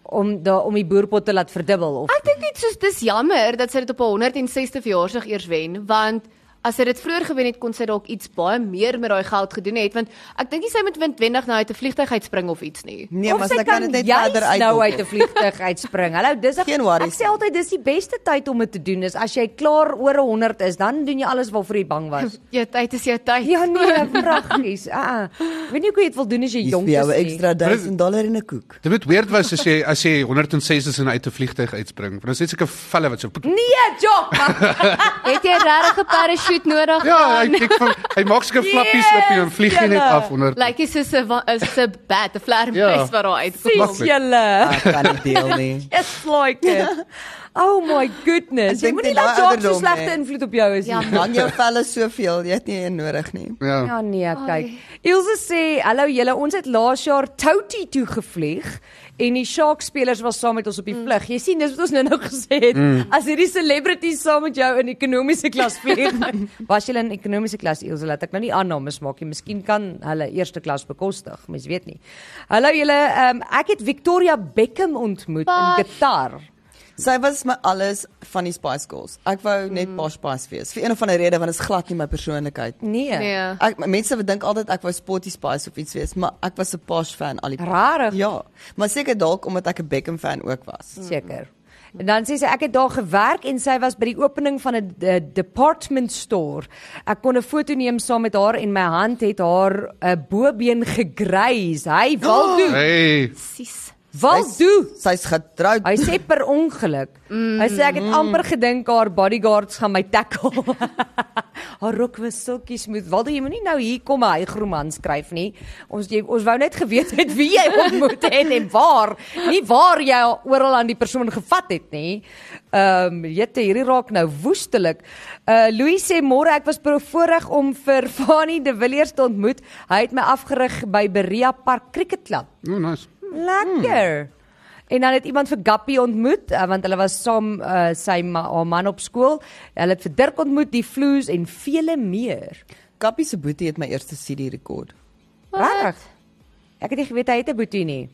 S2: om da, om die boerpot te laat verdubbel of
S5: Ek dink net soos dis jammer dat sy dit op haar 106ste verjaarsdag eers wen, want as sy dit vroeër gewen het, kon sy dalk iets baie meer met daai geld gedoen het want ek dink nie sy moet windwendig nou uit 'n vliegtyg uitspring of iets nie.
S3: Nee,
S2: Of
S3: maar
S2: sy
S3: sy kan dit net
S2: juis
S3: verder uit.
S2: Nou uit 'n vliegtyg uitspring. Hallo, dis 'n-
S3: Geen
S2: Ek
S3: worries.
S2: sê altyd dis die beste tyd om dit te doen is as jy klaar oor 100 is, dan doen jy alles waarvoor jy bang was.
S5: Jou tyd is jou tyd.
S2: Ja nee, pragties. Ah, ah. weet nie hoe jy dit wil doen as jy
S3: Dis
S2: jonk
S3: vir jou
S2: is.
S3: 'n
S2: nie.
S3: ekstra 1000 dollar in 'n koek.
S4: Dit moet weird was as jy as jy 106 is en uit 'n vliegtyg uitspring. Want dan sê seker velle wat so
S2: Nee, jok.
S5: Het jy regtig 'n parachute nodig?
S4: Ja, hy kyk van hy maak seker flappies
S2: Yes,
S4: yes, flap en vlieg nie net
S2: julle.
S4: af onder.
S5: Lyk jy soos 'n wa- is 'n bat, 'n vlermprys
S4: Ja.
S5: wat daar uitkom.
S2: Presies
S4: Maklik.
S2: julle.
S3: Ek kan nie deel nie.
S2: It's like it. Oh my goodness.
S3: Ek
S2: Jy
S3: dink
S2: moenie
S3: dit
S2: laat
S3: daai
S2: jok so
S3: ouderdom,
S2: slegte
S3: hè.
S2: invloed op jou is nie.
S5: Ja,
S3: Hang Nou, jou velle soveel, jy het nie een nodig nie.
S4: Ja.
S2: Ja nee, kyk. Ilse sê, "Hallo julle, ons het laas jaar Touty toe gevlieg en die Shark spelers was saam met ons op die vlug. Jy sien, dis wat ons nou-nou gesê het. As hierdie celebrities saam met jou in ekonomiese klas vlieg, was jy in ekonomiese klas Ilse, laat ek nou nie aannames maak nie. Miskien kan hulle eerste klas bekostig, mens weet nie. Hallo julle, um, ek het Victoria Beckham ontmoet in
S5: Wat?
S2: Qatar.
S3: Sy was my alles van die Spice Girls. Ek wou net Posh Spice wees vir een of ander rede want dit is glad nie my persoonlikheid.
S2: Nee. nee.
S5: Nee.
S3: Ek mense dink altyd ek wou Spotty Spice of iets wees, maar ek was 'n Posh fan al die
S2: Rarig.
S3: Ja, maar seker dalk omdat ek 'n Beckham fan ook was.
S2: Seker. En dan sê sy ek het daar gewerk en sy was by die opening van 'n de- department store. Ek kon 'n foto neem saam met haar en my hand het haar 'n bobeen gegryis. Hy Waldo,
S4: Hey.
S5: Presies.
S2: Waldo.
S3: Sy's getroud.
S2: Hy sê per ongeluk. Hy sê ek het amper gedink haar bodyguards gaan my tackle. haar rok was silkie smooth. Waldo, jy moenie nou hier kom 'n hygroman skryf nie. Ons jy, ons wou net geweet het wie jy ontmoet het en waar, nie waar jy oral aan die persoon gevat het nie. Ehm um, jette, hierdie raak nou woestelik. Uh Louis sê môre ek was bevoorreg om vir Fanie De Villiers te ontmoet. Hy het my afgerig by Berea Park Cricketklub.
S4: Oh, nice.
S2: Lekker. En dan het iemand vir Gappie ontmoet uh, want hulle was saam uh, sy ma, haar man op skool. Hulle het vir Dirk ontmoet, die Floes en vele meer.
S3: Kappie se boetie het my eerste CD rekord.
S2: Regtig? Ek het nie geweet hy het 'n boetie nie.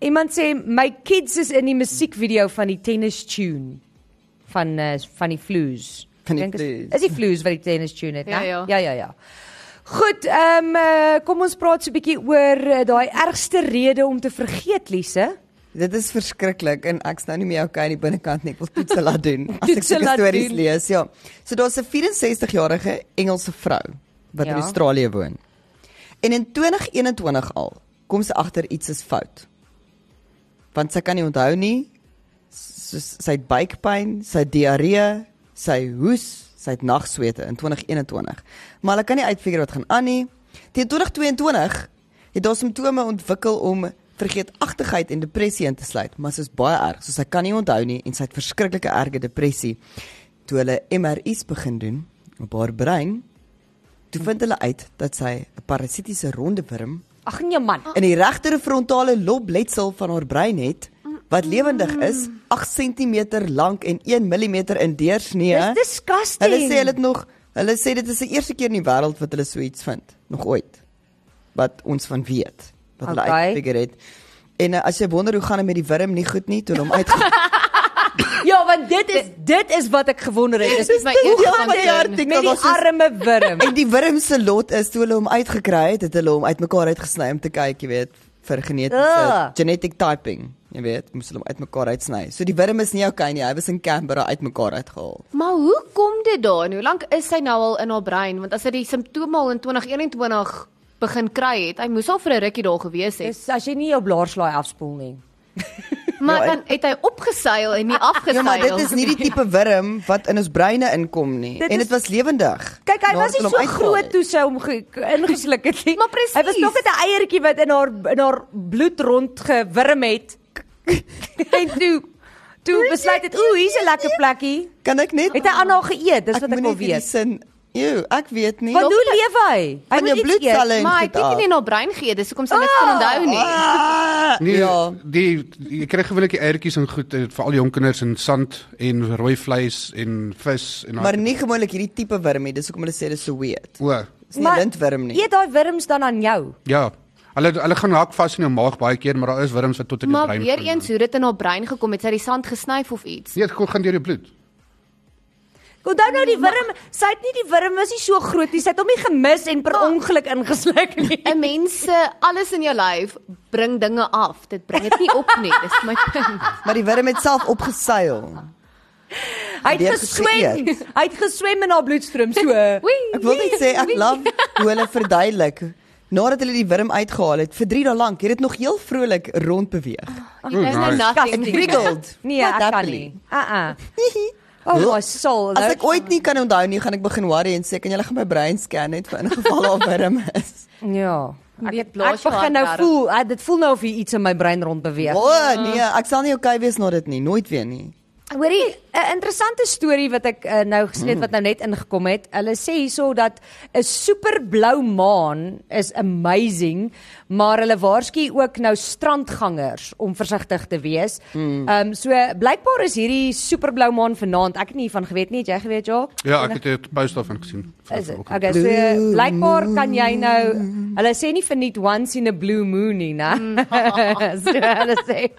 S2: Iemand sê my kids is in die musiekvideo van die tennis tune van uh, van die Floes.
S3: Van die
S2: Ek dink is-
S3: Floes.
S2: Is die Floes wat die tennis tune het,
S5: Ja,
S2: né?
S5: ja.
S2: ja, ja. ja. Goed, ehm um, uh, kom ons praat so 'n bietjie oor uh, daai ergste rede om te vergeet, Lise.
S3: Dit is verskriklik en ek's nou nie meer okay aan die binnekant nie. Ek wil toetse laat doen. As ek
S2: Toetse
S3: sulke
S2: laat
S3: stories
S2: doen.
S3: lees, ja. So daar's 'n 64-jarige Engelse vrou wat
S2: Ja.
S3: in Australië woon. En in 2021 al kom sy agter iets is fout. Want sy kan nie onthou nie. So, sy het buikpyn, sy het diarree, sy hoes, sy het nagswete in 2021. Maar hulle kan nie uitfigure wat gaan aan nie. Teen 2022 het haar simptome ontwikkel om vergeetachtigheid en depressie in te sluit, maar dit is baie erg. So sy kan nie onthou nie en sy het verskriklike erge depressie. Toe hulle MRI's begin doen op haar brein, toe vind hulle uit dat sy 'n parasitiese rondewurm
S2: Ag nee
S5: Ah,
S2: man.
S3: in die regter frontale lobletsel van haar brein het wat lewendig is, 8 cm lank en 1 mm in
S2: Dis
S3: deursnee.
S2: disgusting.
S3: Ja. Hulle sê hulle het nog hulle sê dit is die eerste keer in die wêreld wat hulle so iets vind, nog ooit. Wat ons van weet, wat hulle
S2: Okay.
S3: uitfigure het. En uh, as jy wonder hoe gaan dit met die wurm nie goed nie, toe hulle hom uit
S2: Ja, want dit is dit is wat ek gewonder het. Dis
S5: Dis my
S3: dit
S5: oog
S3: ja,
S5: gaan
S3: maar ja,
S5: turn.
S3: dit-
S2: met die
S3: was soos-
S2: arme wurm.
S3: En die wurm se lot is toe hulle hom uitgekry het, het hulle hom uitmekaar uitgesny om te kyk, jy weet, vir genetiese
S2: Ugh.
S3: genetic typing. Jy weet, moes hulle hom uitmekaar uitsny. So die wurm is nie okay nie. Hy was in Canberra uitmekaar uitgehaal.
S5: Maar hoe kom dit daar? Hoe lank is sy nou al in haar brein? Want as sy die simptome al in 2021 begin kry het, hy moes al vir 'n rukkie daar gewees het.
S2: Dis as jy nie jou blaarslaai afspoel nie.
S5: Maar
S2: Nou,
S3: Ja,
S5: dan het hy opgeseil en
S2: Ah,
S5: nie afgeseil.
S3: Ja, maar dit is nie die tipe wurm wat in ons breine inkom nie.
S2: Dit
S3: en
S2: is-
S3: dit was lewendig.
S2: Kyk, hy
S3: Nadat
S2: was nie
S3: hulle hom
S2: so
S3: uitgehaal
S2: groot
S3: het.
S2: toe sy hom ge- ingesluk het nie.
S5: Maar presies.
S2: Hy was nog net 'n eiertjie wat in haar in haar bloed rond gewurm het. en toe toe besluit het, ooh, hier's 'n lekker plekkie.
S3: Kan ek net
S2: Het hy aan haar geëet? Dis wat ek wil
S3: moenie hierdie
S2: weet.
S3: Sin, ew, ek weet nie.
S2: Want hoe leef hy? Hy
S3: Van
S2: moet iets
S3: jou
S2: eet.
S3: bloedselle en
S5: Maar hy het
S3: goed af.
S5: nie in haar brein gee, dis hoekom sy niks kan onthou
S2: ah.
S5: nie.
S3: Ah,
S4: Nee,
S3: ja.
S4: ja. die jy kry gewoonlik die eiertjies en goed, eh, veral jong kinders en sand en rooi vleis en vis en
S3: Maar nie gewoonlik hierdie tipe wurm nie. Dis hoekom hulle sê dit is so weird.
S4: O,
S3: Dis nie 'n lintwurm nie.
S2: Eet daai wurms dan aan jou.
S4: ja. Hulle hulle gaan hak vas in jou maag baie keer, maar daar is wurms wat tot in die
S5: Maar
S4: brein. ja.
S5: weer
S4: gaan.
S5: eens hoe dit in haar brein gekom het, sy het die sand gesnyf of iets.
S4: Nee, dit gaan deur jou bloed.
S2: Onthou nou die wurm, sy het nie die wurm was nie so groot nie. Sy het hom nie gemis en per ongeluk ingesluk nie.
S5: 'n Mens se alles in jou lyf bring dinge af. Dit bring dit nie op nie. Dis my punt.
S3: Maar die wurm het self opgeseil.
S2: Hy
S3: Die
S2: het
S3: het
S2: geswem.
S3: geëet.
S2: Hy het geswem in haar bloedstroom so.
S5: Oei.
S3: Ek wil net sê
S2: Nee.
S3: ek love hoe hulle verduidelik nadat hulle die wurm uitgehaal het vir 3 dae lank het dit nog heel vrolik rond beweeg.
S5: You guys know
S4: nice.
S5: nou nothing.
S2: Disgusting.
S3: Wriggled.
S2: Oh, Nee,
S3: What
S2: ek kan
S3: happened?
S2: nie. Uh-uh. Oh my soul.
S3: As ek ooit nie kan onthou nie, gaan ek begin worry en sê kan julle gaan my brein scan net vir ingeval daar 'n wurm is.
S2: ja,
S5: Nee,
S2: ek,
S5: blaas
S2: ek begin
S5: jou
S2: nou
S5: hart
S2: voel, uh, dit voel nou of hier iets in my brein rond beweeg.
S3: O oh, nee, ek sal nie okay wees na dit nie, nooit weer nie.
S2: Hoorie, 'n interessante storie wat ek uh, nou gesien het wat nou net ingekom het. Hulle sê hierso dat 'n superblou maan is amazing, maar hulle waarsku ook nou strandgangers om versigtig te wees. Ehm um, so blykbaar is hierdie superblou maan vanaand. Ek het nie van geweet nie, het jy geweet ja?
S4: Ja, ek het dit post daarvan gesien.
S2: Is dit?
S4: Vanoggend.
S2: Okay, so blykbaar kan jy nou hulle sê nie verniet once in a blue moon nie, né? so hulle sê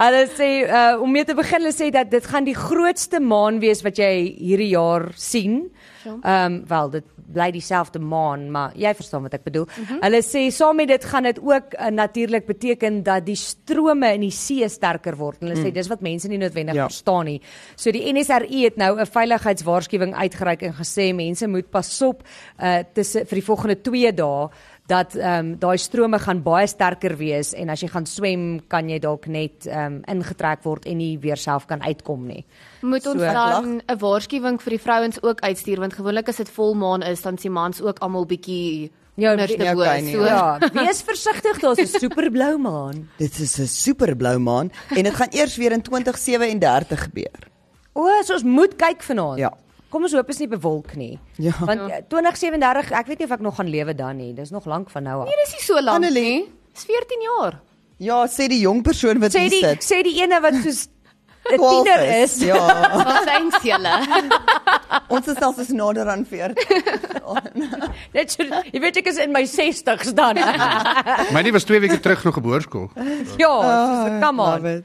S2: hulle sê uh, om mee te begin hulle sê dat dit gaan die grootste maan wees wat jy hierdie jaar sien. Ehm um, wel dit bly dieselfde maan, maar jy verstaan wat ek bedoel. Mm -hmm. Hulle sê saam met dit gaan dit ook uh, natuurlik beteken dat die strome in die see sterker word. Hulle mm. sê dis wat mense nie noodwendig ja.
S3: Ja.
S2: verstaan nie. So die NSRI het nou 'n veiligheidswaarskuwing uitgereik en gesê mense moet pasop uh tussen vir die volgende 2 dae dat ehm um, daai strome gaan baie sterker wees en as jy gaan swem kan jy dalk net ehm um, ingetrek word en nie weer self kan uitkom nie.
S5: Moet ons
S2: So, ek
S5: dan 'n waarskuwing vir die vrouens ook uitstuur want gewoonlik as dit volmaan is dan sien mans ook almal bietjie
S2: Ja,
S5: nurse
S2: nie
S5: te
S3: okay
S5: woord.
S3: nie,
S5: So
S2: Ja, wees versigtig, daar's 'n superblou maan.
S3: Dit is 'n superblou maan en dit gaan eers weer in 2037 gebeur.
S2: O, so ons moet kyk vanaand.
S3: Ja.
S2: Kom ons hoop is nie bewolk nie.
S3: Ja.
S2: Want eh, 2037, ek weet nie of ek nog gaan lewe dan nie. Dis nog lank van nou af.
S5: Dit is nie so lank
S3: Annelie?
S5: nie. Dis 14 jaar.
S3: Ja, sê die jong persoon wat
S2: sê
S3: hier
S2: die
S3: sit.
S2: sê die ene wat soos 'n
S3: 12
S2: tiener is.
S3: Ja,
S5: Wat sêns julle?
S3: ons is selfs nader aan 40.
S2: Net so, jy weet ek is in my 60's dan. ja,
S4: Myne was 2 weke terug nog geboorskool.
S2: so come on.
S3: Ah, Love it.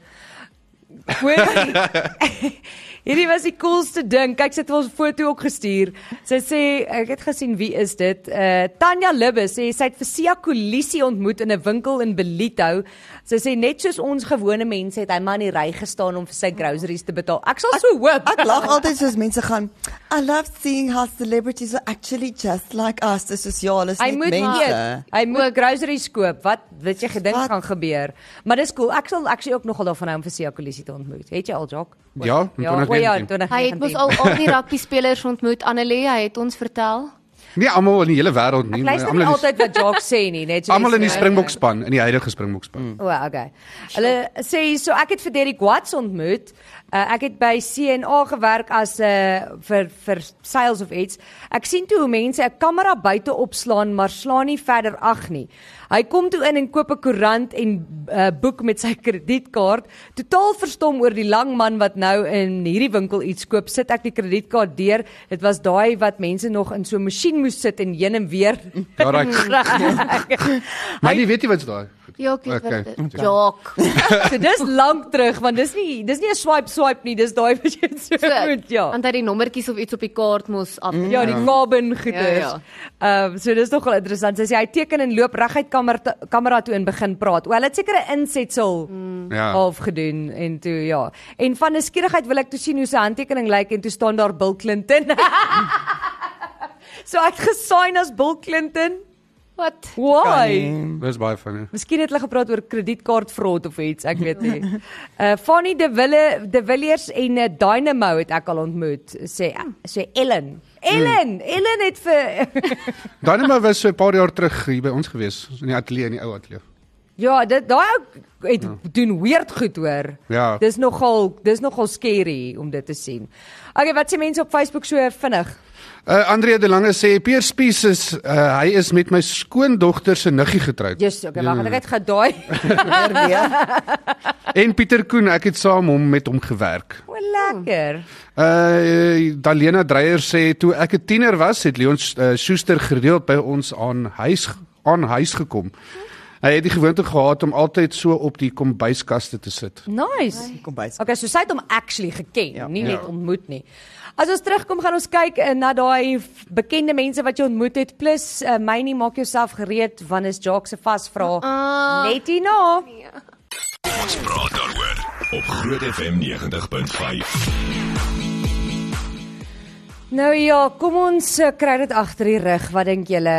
S2: Hoorie. Hierdie was die coolste ding. Kyk, sy het ons 'n foto ook gestuur. Sy sê, ek het gesien wie is dit? Uh Tanya Libbe sê sy het vir Sia Kolisi ontmoet in 'n winkel in Belito. Sy sê net soos ons gewone mense het hy maar in die ry gestaan om vir sy groceries te betaal. Ek sal so hoop.
S3: Ek lag altyd soos mense gaan. I love seeing how celebrities are actually just like us. Dis is ja, hulle is
S2: Hy
S3: net
S2: moet
S3: mense.
S2: eet. Hy moet groceries koop. Wat weet jy gedink
S3: Wat?
S2: gaan gebeur? Maar dis cool. Ek sal actually ook nogal daarvan hou om vir Sia Kolisi te ontmoet. Het jy al Jock?
S4: Ja, in
S2: ja, o ja, in
S4: 2019.
S5: Hy het mos
S2: 2019.
S5: al al die rugby spelers ontmoet Annelie, hy het ons vertel.
S4: Nie Nee, almal in die hele wêreld nie,
S2: Ek
S4: maar
S2: luister nie
S4: almal in die-
S2: altyd wat Jock sê nie, net so. eh,
S4: almal in die
S2: jy sê.
S4: Springbokspan, in die huidige Springbokspan.
S2: O, oh, okay. Hulle sê so ek het vir Derrick Watts ontmoet. Uh, ek het by CNA gewerk as 'n uh, vir vir sales of iets. Ek sien toe hoe mense 'n kamera buite opslaan, maar slaan nie verder ag nie. Hy kom toe in en koop 'n koerant en 'n uh, boek met sy kredietkaart. Totaal verstom oor die lang man wat nou in hierdie winkel iets koop. Sit ek die kredietkaart deur. Dit was daai wat mense nog in so 'n masjien moes sit en heen en weer.
S4: Ja,
S2: Mm.
S4: right. Maar jy weet nie wat's daai.
S5: Ja, ek weet
S4: Okay,
S5: wat. dit- Jock.
S2: so dis lank terug want dis nie dis nie 'n swipe swipe nie, dis daai wat jy so moet ja.
S5: Want hy het die nommertjies of iets op die kaart mos af.
S3: Mm.
S2: Ja, die carbon goeders.
S5: Ja, ja.
S2: Ehm so dis nogal interessant. Sy sê hy teken en loop reguit kamera kamera toe en begin praat. O, hulle het seker 'n insetsel
S4: Ja.
S2: half gedoen en toe ja. En van nuuskierigheid wil ek toe sien hoe sy handtekening lyk en toe staan daar Bill Clinton. so ek gesign as Bill Clinton.
S5: Wat?
S2: Why?
S4: Dis baie funny.
S2: Miskien het hulle gepraat oor kredietkaartfraud of iets, ek weet nie. Uh Fanny De Wille, De Villiers en uh, Dynamo het ek al ontmoet, sê sê Ellen. Ellen, Ellen het vir
S4: Dynamo was so 'n paar jaar terug hier by ons gewees, in die ateljee, in die ou ateljee.
S2: Ja, dit daai ou het doen weird goed hoor.
S4: Ja.
S2: Dis nogal dis nogal scary om dit te sien. Okay, wat sê mense op Facebook so vinnig?
S4: Uh Andre de Lange sê Piers Spies is uh, hy is met my skoondogter se niggie getroud.
S2: Jesus, okay, wag, ek het gedaai.
S3: Weer weer.
S4: En Pieter Koen, ek het saam hom met hom gewerk.
S2: O, lekker.
S4: Uh Dalena Dreyer sê toe ek 'n eh, tiener was, het Leon uh, Schuster gereeld by ons aan huis aan huis gekom. Hy het die gewoonte gehad om altyd so op die kombuiskaste te sit.
S2: Nice.
S3: Kom by.
S2: Okay, so sy het hom actually geken, ja. nie
S4: Ja.
S2: net ontmoet nie. As ons terugkom gaan ons kyk eh, na daai f- bekende mense wat jy ontmoet het plus uh, mynie maak jouself gereed wanneer is Jacques se vasvra. Uh, net hierna.
S1: Ons praat daaroor op Groot FM 90.5.
S2: Nou ja, kom ons eh, kry dit agter die rug. Wat dink julle?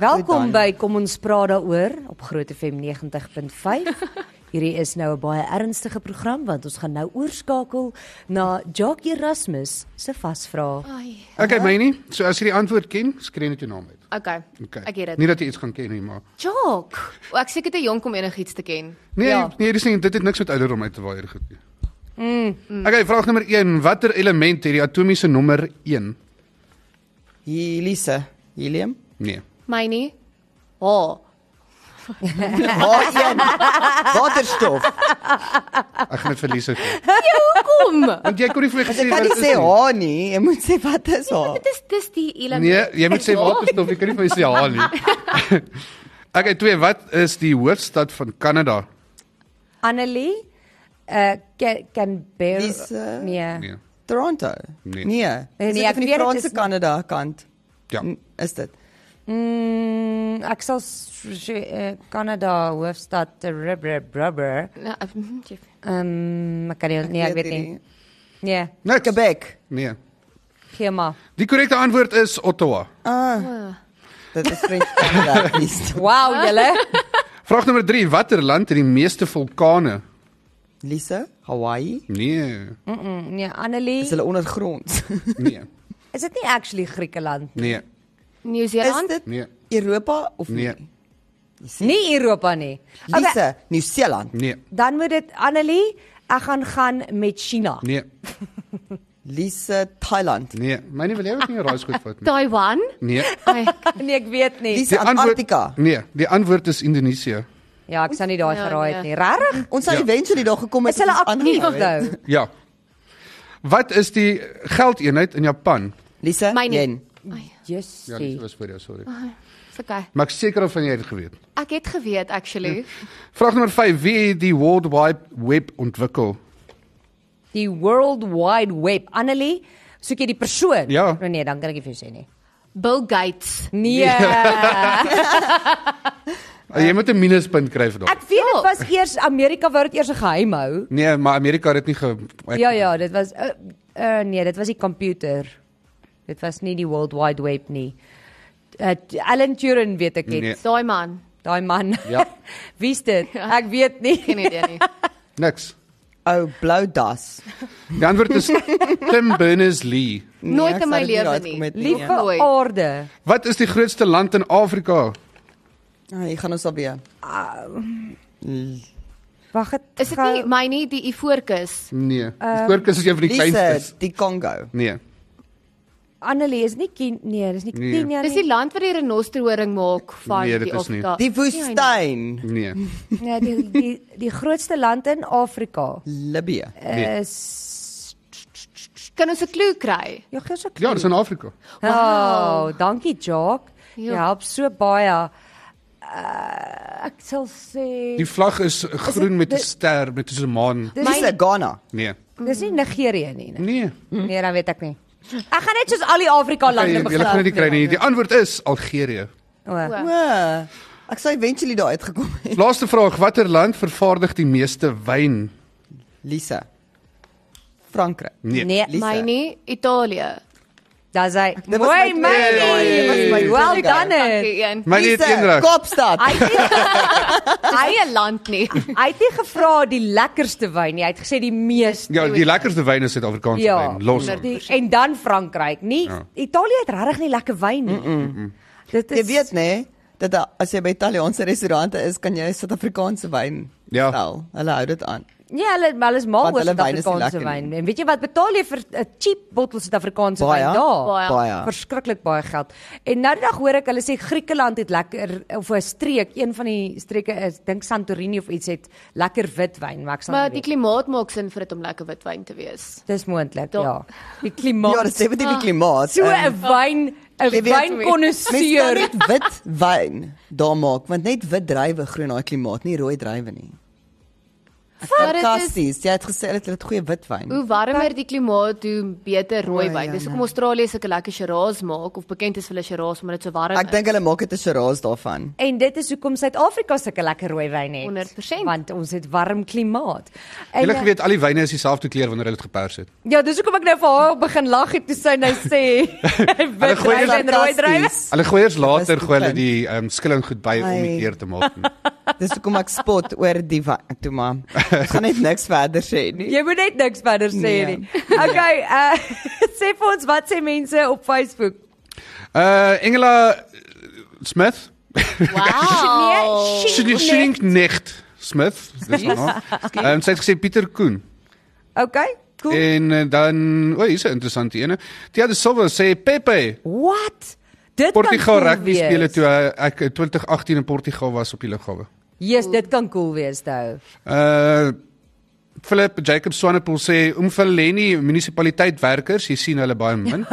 S2: Welkom
S3: Goed dan.
S2: by Kom ons praat daaroor op Groot FM 90.5. Hierdie is nou 'n baie ernstige program want ons gaan nou oorskakel na Jacques Erasmus se vasvra.
S5: Ai.
S4: Okay, mynie. So as jy die antwoord ken, skree net jou naam uit.
S5: Okay.
S4: Okay.
S5: Ek het
S4: Nie
S5: dit.
S4: dat jy iets gaan ken nie, maar
S5: Jock. O, ek seker te jonk om enigiets te ken.
S4: Nee,
S2: Ja.
S4: ja. nee, dis nie dit het niks met ouderdom uit te waai hier goed nie. Mm. Okay, vraag nommer 1, watter element het die atomiese nommer 1?
S3: Helise, helium.
S4: Nee.
S5: My nie. Ha.
S3: H1. Waterstof.
S4: Ek gaan dit verlies ek.
S5: Kom.
S4: Want jy kon nie vir my
S3: Jy
S4: gesê
S3: kan
S4: wat
S3: nie
S4: is
S3: sê
S4: nie.
S3: H nie, jy moet sê wat is H.
S5: Dit is dis die element. Ja.
S4: Nee, jy moet sê waterstof, jy kan nie vir my sê ja nie. Okay, twee, wat is die hoofstad van Kanada?
S2: Annelie eh uh, Canberra.
S3: Dis, eh,
S2: nee.
S4: Nee.
S3: Toronto.
S4: Nee.
S3: Nee.
S2: Nee,
S3: Is dit
S2: ek
S3: van
S2: weet
S3: die
S2: dit
S3: Franse
S2: is-
S3: Kanada kant.
S4: Ja.
S3: N- Is dit?
S2: Mm, ek sal s- s- eh, Kanada hoofstad rubber rubber.
S5: Nou, ek- mhm, jy-
S2: Ehm um, ek kan nie nee, ek weet nie. Nee,
S4: Niks.
S3: Nou, Quebec.
S4: Nee.
S2: gee maar.
S4: Die korrekte antwoord is Ottawa.
S3: Ah. Dit is French Canada. East.
S2: Wow, julle.
S4: Vraag nommer 3, watter land het die meeste vulkane?
S3: Lise, Hawaii.
S4: Nee.
S2: Mm -mm, nee,
S3: Is
S2: Annelie.
S3: hulle ondergronds?
S4: Nee.
S2: Is dit nie actually Griekeland?
S4: Nee.
S3: Is
S5: Nieu-Seeland.
S3: dit
S4: Nee.
S3: Europa of
S4: Nee.
S3: nie?
S2: Nie Europa nie. Okay,
S3: Lise, Nieu-Seeland.
S4: Nee.
S2: dan moet dit Annelie, ek gaan gaan met China.
S4: Nee.
S3: Lise, Thailand.
S4: Nee. Myne wil jy ook nie 'n raai skoot vat nie.
S5: Taiwan.
S4: Nee.
S5: Ai,
S2: Nee, ek weet nie.
S3: Lise, Antarktika.
S4: Nee, die antwoord is Indonesië.
S2: Ja, ek sou nie daai
S5: Ja,
S2: geraai het
S5: nee.
S2: nie. Regtig?
S3: Ons sal
S4: Ja.
S3: eventually daar gekom het.
S2: Is hulle
S3: ons
S2: aktief
S3: aangehou het.
S2: nou?
S4: Ja. Wat is die geldeenheid in Japan?
S3: Lise,
S5: my nie.
S3: yen.
S5: Ai,
S4: Ja, dit
S2: Jessie.
S4: was vir jou, sorry.
S5: Dis okay.
S4: Maar ek is seker of van jy het geweet.
S5: Ek het geweet actually.
S4: Vraag nommer 5: Wie het die World Wide Web ontwikkel?
S2: Die World Wide Web. Annelie, soek jy die persoon?
S4: Ja.
S2: Oh, nee, dan kan ek nie vir jou sê nie.
S5: Bill Gates.
S2: Nee.
S4: Uh, jy moet 'n minuspunt kry vir daai.
S2: Eh, Ek weet dit was eers Amerika wou dit eers 'n geheim hou.
S4: Nee, maar Amerika het dit nie ge ek,
S2: Ja ja, dit was uh, uh, nee, dit was die komputer. Dit was nie die World Wide Web nie. Uh, Alan Turing weet ek het.
S4: Nee.
S2: Nee.
S5: Daai man.
S2: Daai man.
S4: Ja.
S2: Wie's dit? Ek weet
S5: Ja. Geen
S2: nie.
S5: idee nie.
S3: Nee,
S4: niks.
S3: Ou Oh, blou das.
S4: Die antwoord is Tim Berners-Lee.
S3: Nee,
S5: Nooit
S3: ek
S5: in my
S3: sal dit nie
S5: lewe
S3: raadkom
S5: nie. Oh,
S3: met nie,
S2: Liewe
S3: ja.
S5: Mooi.
S2: aarde.
S4: Wat is die grootste land in Afrika?
S3: Ah, Hier gaan ons al weer.
S2: Wag het.
S5: Is dit
S2: gou-
S5: nie my nie die Ivoorkus?
S4: Nee.
S2: Ehm,
S4: Die Koorkus is een van die
S3: Lise,
S4: kleinstes.
S3: die Kongo.
S4: Nee.
S2: Annelie is nie Ken nee, dis nie
S4: Nee.
S2: Kenia
S3: Ja,
S5: Dis die
S2: nie.
S5: land wat die renosterhoring maak van
S4: Nee, dit
S5: die
S4: is nie.
S2: Ah,
S5: Afrika.
S3: Die woestyn,
S4: Nee.
S2: Nee, die die die grootste land in Afrika
S3: Libië.
S4: Nee.
S2: is
S5: Kan ons 'n klou kry?
S2: Ja, gee so
S4: Ja, dis in Afrika.
S2: Wow, oh, dankie Jock. Jy
S5: Ja.
S2: help so baie. Uh, ek sal sê
S4: Die vlag is groen met 'n
S2: dit-
S4: ster met so 'n maan.
S2: Dis-
S3: Lise, Ghana.
S4: Nee.
S2: dis nie Nigerië nie. Nee,
S4: Nee.
S2: nee dan weet ek nie. Ek gaan net soos al die Afrika
S4: Jy
S2: lande
S4: jy gaan dit nie kry nie. Die
S2: ja.
S4: antwoord is Algerië.
S2: O,
S5: O,
S3: Wow. Ek sou eventually daar uitgekom het.
S4: Laaste vraag, watter land vervaardig die meeste wyn?
S3: Lise. Frankryk.
S4: Nee.
S2: Nee,
S3: Lise.
S5: My nie Italië.
S2: daar's hy.
S3: was
S2: Mooi
S3: my tweede ja. daai, dit was my
S2: manie. Wel
S4: ja.
S3: tweede.
S2: dan. Hy
S5: Dankie een.
S4: My nie
S3: Lise,
S4: eendag.
S3: Kaapstad.
S2: Ah,
S5: Dis nie 'n land nie.
S2: het nie gevra die lekkerste wyn nie. Hy het gesê die meeste.
S4: Ja, die lekkerste wyn is Suid-Afrikaanse ja, wyn. Los.
S2: die, en dan Frankryk. Nie ja.
S4: Ja.
S2: Italië het regtig nie lekker wyn nie. Mm -mm. Dit is
S3: Jy weet nê dat daar- as jy by Italiaanse restaurante is, kan jy Suid-Afrikaanse wyn
S4: Ja.
S3: stel. Hulle hou dit aan.
S2: Ja, hulle maar hulle is mal
S3: Want
S2: oor
S3: hulle wyn is nie
S2: Suid-Afrikaanse
S3: lekker
S2: wyn.
S3: nie.
S2: En weet jy wat betaal jy vir 'n cheap bottel Suid-Afrikaanse
S3: Baie,
S2: wyn daar?
S5: baie.
S3: Baie.
S2: Verskriklik baie geld. En nou die dag hoor ek hulle sê Griekeland het lekker of 'n streek, een van die streke is dink Santorini of iets het lekker witwyn, maar ek sal
S5: Maar
S2: nie
S5: die
S2: weet.
S5: klimaat maak sin vir dit om lekker witwyn te wees.
S2: Dis moontlik,
S5: Da-
S2: ja. Die
S3: Ja,
S2: klimaat.
S3: dis definitief die klimaat.
S2: so
S3: Ehm,
S2: 'n wyn
S3: Jy
S2: 'n
S3: weet, Mens kan
S2: wynkonnoisseur.
S3: net wit wyn daar maak, want net wit druiwe groei in daai klimaat, nie rooi druiwe nie.
S5: Maar dit is
S3: Fantasties. Jy het gesê hulle het goeie wit wyn.
S5: Hoe warmer die klimaat, hoe beter
S3: Rooi,
S5: rooi wyn.
S3: ja,
S5: Dis hoekom
S3: ja.
S5: Australië sulke lekker Shiraz maak of bekend is vir hulle Shiraz omdat dit so warm
S3: Ek
S5: is.
S3: dink hulle maak dit 'n Shiraz daarvan.
S2: En dit is hoekom Suid-Afrika sulke lekker rooi wyn het.
S5: 100%.
S2: want ons het warm klimaat. En eh,
S4: Jy geweet al die wyne is dieselfde kleur wanneer hulle dit gepers het.
S2: ja, dis hoekom ek nou vir haar begin lag het toe sy nou sê wit
S4: gooi
S2: druiwe en rooi druiwe.
S3: Fantasties.
S4: Hulle gooi eers later
S3: die
S4: gooi hulle
S3: punt.
S4: die ehm um, skilling goed by om
S3: Ai.
S4: die kleur te maak. nie.
S3: Dis hoekom ek spot oor die wyn toe maar. Ek gaan net niks verder sê nie.
S2: Jy moet net niks verder sê
S3: Nee.
S2: nie. Okay, uh, sê vir ons wat sê mense op Facebook?
S4: Uh Engela Smith
S2: Nee,
S3: Nee.
S2: Oh.
S5: Wow.
S4: Shooting Shooting Nicht Smith, dis haar. Ehm um, sy het gesê Pieter Koen.
S2: Nee. Okay, cool.
S4: En eh, dan, o, oh, hier's 'n interessante ene. Tia de Silva sê Pepe
S2: What? Dit
S4: Portugal
S2: kan cool
S4: rugby spele
S2: wees.
S4: toe hy- ek in 2018 in Portugal was op die lughawe.
S2: Yes, dit kan cool wees nou.
S4: Uh Philip Jacob Swanepoel sê Umfaleni munisipaliteit werkers, jy sien hulle baie min.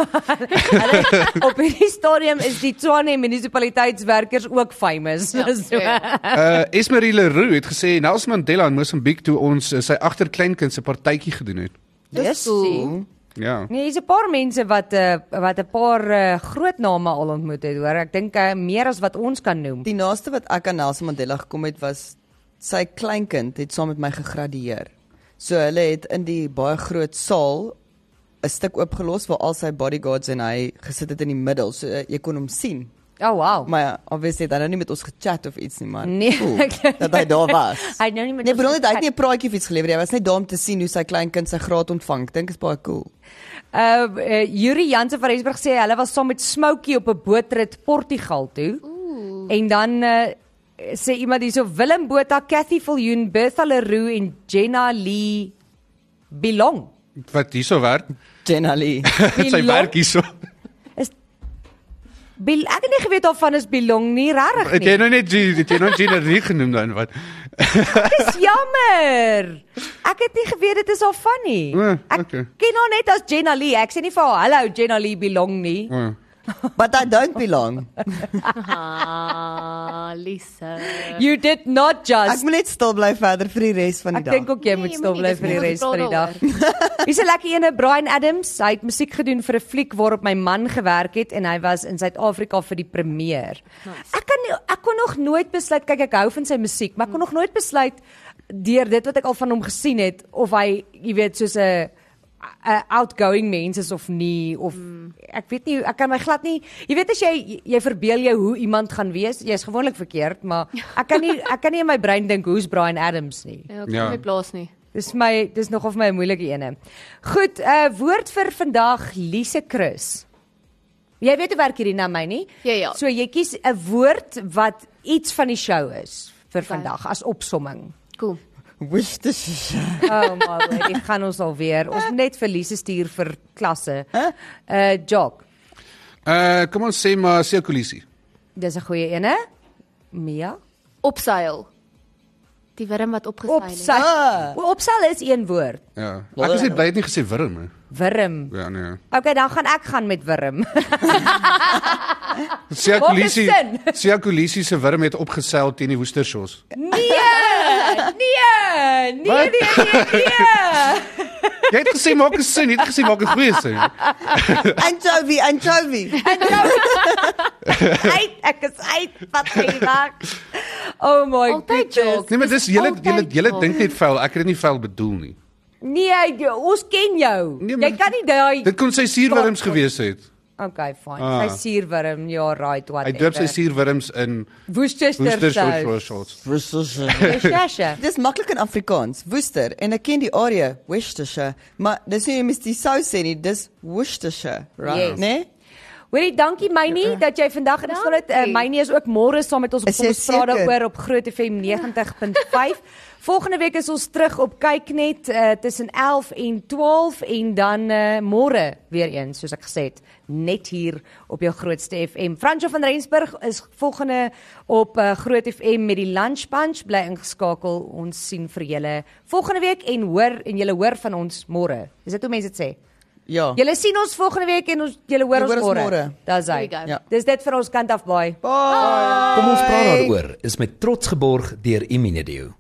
S2: Hulle op hierdie stadium is die Tshwane munisipaliteitswerkers ook famous. Ja, so.
S5: ja.
S4: Uh Esmeril Leroux het gesê Nelson Mandela in Mosambiek toe ons uh, sy agterkleinkind se partytjie gedoen het.
S2: Dis
S5: cool.
S4: Ja.
S2: Nee, hier's 'n paar mense wat uh, wat 'n paar uh, groot name al ontmoet het, hoor. Ek dink uh, meer as wat ons kan noem.
S3: Die naaste wat ek aan Nelson Mandela gekom het was sy kleinkind het saam met my gegradueer. So hulle het in die baie groot saal 'n stuk oopgelos waar al sy bodyguards en hy gesit het in die middel. So eh, jy kon hom sien.
S2: Oh wow.
S3: Maar ja, obviously het hy nou nie met ons gechat of iets nie, maar
S2: Nee,
S3: cool,
S2: ek-
S3: dat hy daar was.
S2: Hy het nou nie met
S3: Nee,
S2: ons
S3: bedoel net hy het
S2: gechat.
S3: nie 'n praatjie of iets gelewer, hy was net daar om te sien hoe sy kleinkind sy graad ontvang. Ek dink is baie cool.
S2: Uh, uh Yuri Jansen van Rensburg sê hulle was saam met Smoukie op 'n bootrit Portugal toe. Ooh. En dan uh sê iemand hierso Willem Botha, Cathy Viljoen, Bertha Leroux en Jenna Lee Belong.
S4: Wat hierso werk?
S3: Jenna Lee.
S4: sy werk hierso.
S2: Bil, ek het nie geweet daarvan is Belong nie, regtig
S4: Het jy
S2: nie.
S4: nou net die- het jy nou Gina Rie genoem dan wat?
S2: Dis jammer. Ek het nie geweet dit is haar van nie.
S4: O,
S2: Ek
S4: okay.
S2: ken haar net as Jenna Lee. Ek sê nie vir haar hallo Jenna Lee Belong nie.
S4: O.
S3: But I don't belong.
S5: Ah, Lisa.
S4: Ja.
S2: You did not
S3: Ek
S2: just
S3: moet net stil bly verder vir die res van die
S2: Ek
S3: dag.
S2: dink ook jy
S5: Nee,
S2: moet
S5: jy
S2: stil
S5: moet
S2: bly
S5: nie, dis
S2: vir die
S5: moeilik
S2: res
S5: om
S2: van
S5: te
S2: die dag. Hier's 'n lekker ene Brian Adams. Hy het musiek gedoen vir 'n fliek waarop my man gewerk het en hy was in Suid-Afrika vir die premier. Ek kan nie- ek kon nog nooit besluit kyk ek hou van sy musiek, maar ek kon nog nooit besluit deur dit wat ek al van hom gesien het of hy, jy weet, soos 'n 'n outgoing mens is of nie of
S5: Hmm.
S2: ek weet nie ek kan my glad nie jy weet as jy jy verbeel jou hoe iemand gaan wees jy's gewoonlik verkeerd maar ek kan nie ek kan nie in my brein dink hoe's Brian Adams nie
S5: Ja,
S4: Ja.
S5: kom nie plaas nie.
S2: Dis my dis nog of my 'n moeilike ene. Goed, uh woord vir vandag Lise Chris. Jy weet hoe werk hierdie na my nie?
S5: Ja, ja.
S2: So jy kies 'n woord wat iets van die show is vir vandag as opsomming.
S5: Cool.
S3: Wish this
S2: Oh my word, dit gaan ons alweer. Ons moet net vir Lise stuur vir klasse. Uh jog.
S4: Uh kom ons sê maar Sekulisi.
S2: Dis 'n goeie ene. Mia.
S5: Opseil. Die wurm wat opgeseil het.
S2: Opsal.
S3: Ah.
S2: Opsal is een woord.
S4: Ja. Ek is net bly het nie gesê wurm nie.
S2: Wurm.
S4: Ja nee.
S2: Okay, dan gaan ek gaan met wurm.
S4: Sekulisi.
S2: Maak dit
S4: Sekulisi se wurm het opgeseil teen die Woestershos.
S2: Nee! Nee! Nee,
S4: Wat?
S2: nee, nee, nee.
S4: Jy het gesê maak 'n sin, jy het gesê maak 'n goeie sin.
S3: anchovy, anchovy.
S2: uit, ek is uit wat hy maak. Oh my
S5: Altyd
S2: goodness.
S5: jok.
S4: Nee, maar dis julle julle julle
S5: Altyd
S4: dink net vuil. Ek het dit nie vuil bedoel nie.
S2: Nee, jy- ons ken jou.
S4: Nee,
S2: jy
S4: maar-
S2: kan nie daai
S4: Dit kon sy suurwurms gewees het.
S2: Okay, fine.
S4: Ah.
S2: Sy suurwurm, ja, right, what.
S4: Hy doop sy suurwurms in
S2: Worcestershire.
S4: Worcestershire.
S2: Worcestershire.
S3: Dis maklik in Afrikaans, Woester en ek ken die area Worcestershire, maar dis nie mis die sous sê nie, dis Worcestershire, right?
S2: Yes.
S3: Nee?
S2: Hoorie, dankie Mynie dat jy vandag ingestel het. Uh,
S5: Dankie.
S2: Mynie is ook môre saam met ons op
S3: Is jy
S2: ons straat
S3: seker?
S2: daaroor op Groot FM 90.5. Volgende week is ons terug op Kyknet uh, tussen 11 en 12 en dan uh, môre weer een soos ek gesê het, net hier op jou grootste FM. Fransjo van Rensburg is volgende op uh, Groot FM met die Lunch Punch bly ingeskakel. Ons sien vir julle volgende week en hoor en julle hoor van ons môre. Is dit hoe mense dit sê?
S3: Ja.
S2: Julle sien ons volgende week en ons julle hoor
S3: Julle
S2: ons
S3: hoor ons
S2: môre.
S3: môre.
S2: Daar's hy.
S5: There we go.
S3: Ja.
S2: Dis dit vir ons kant af baie.
S3: Bye.
S6: Kom ons praat daaroor is met trots geborg deur Imunedio.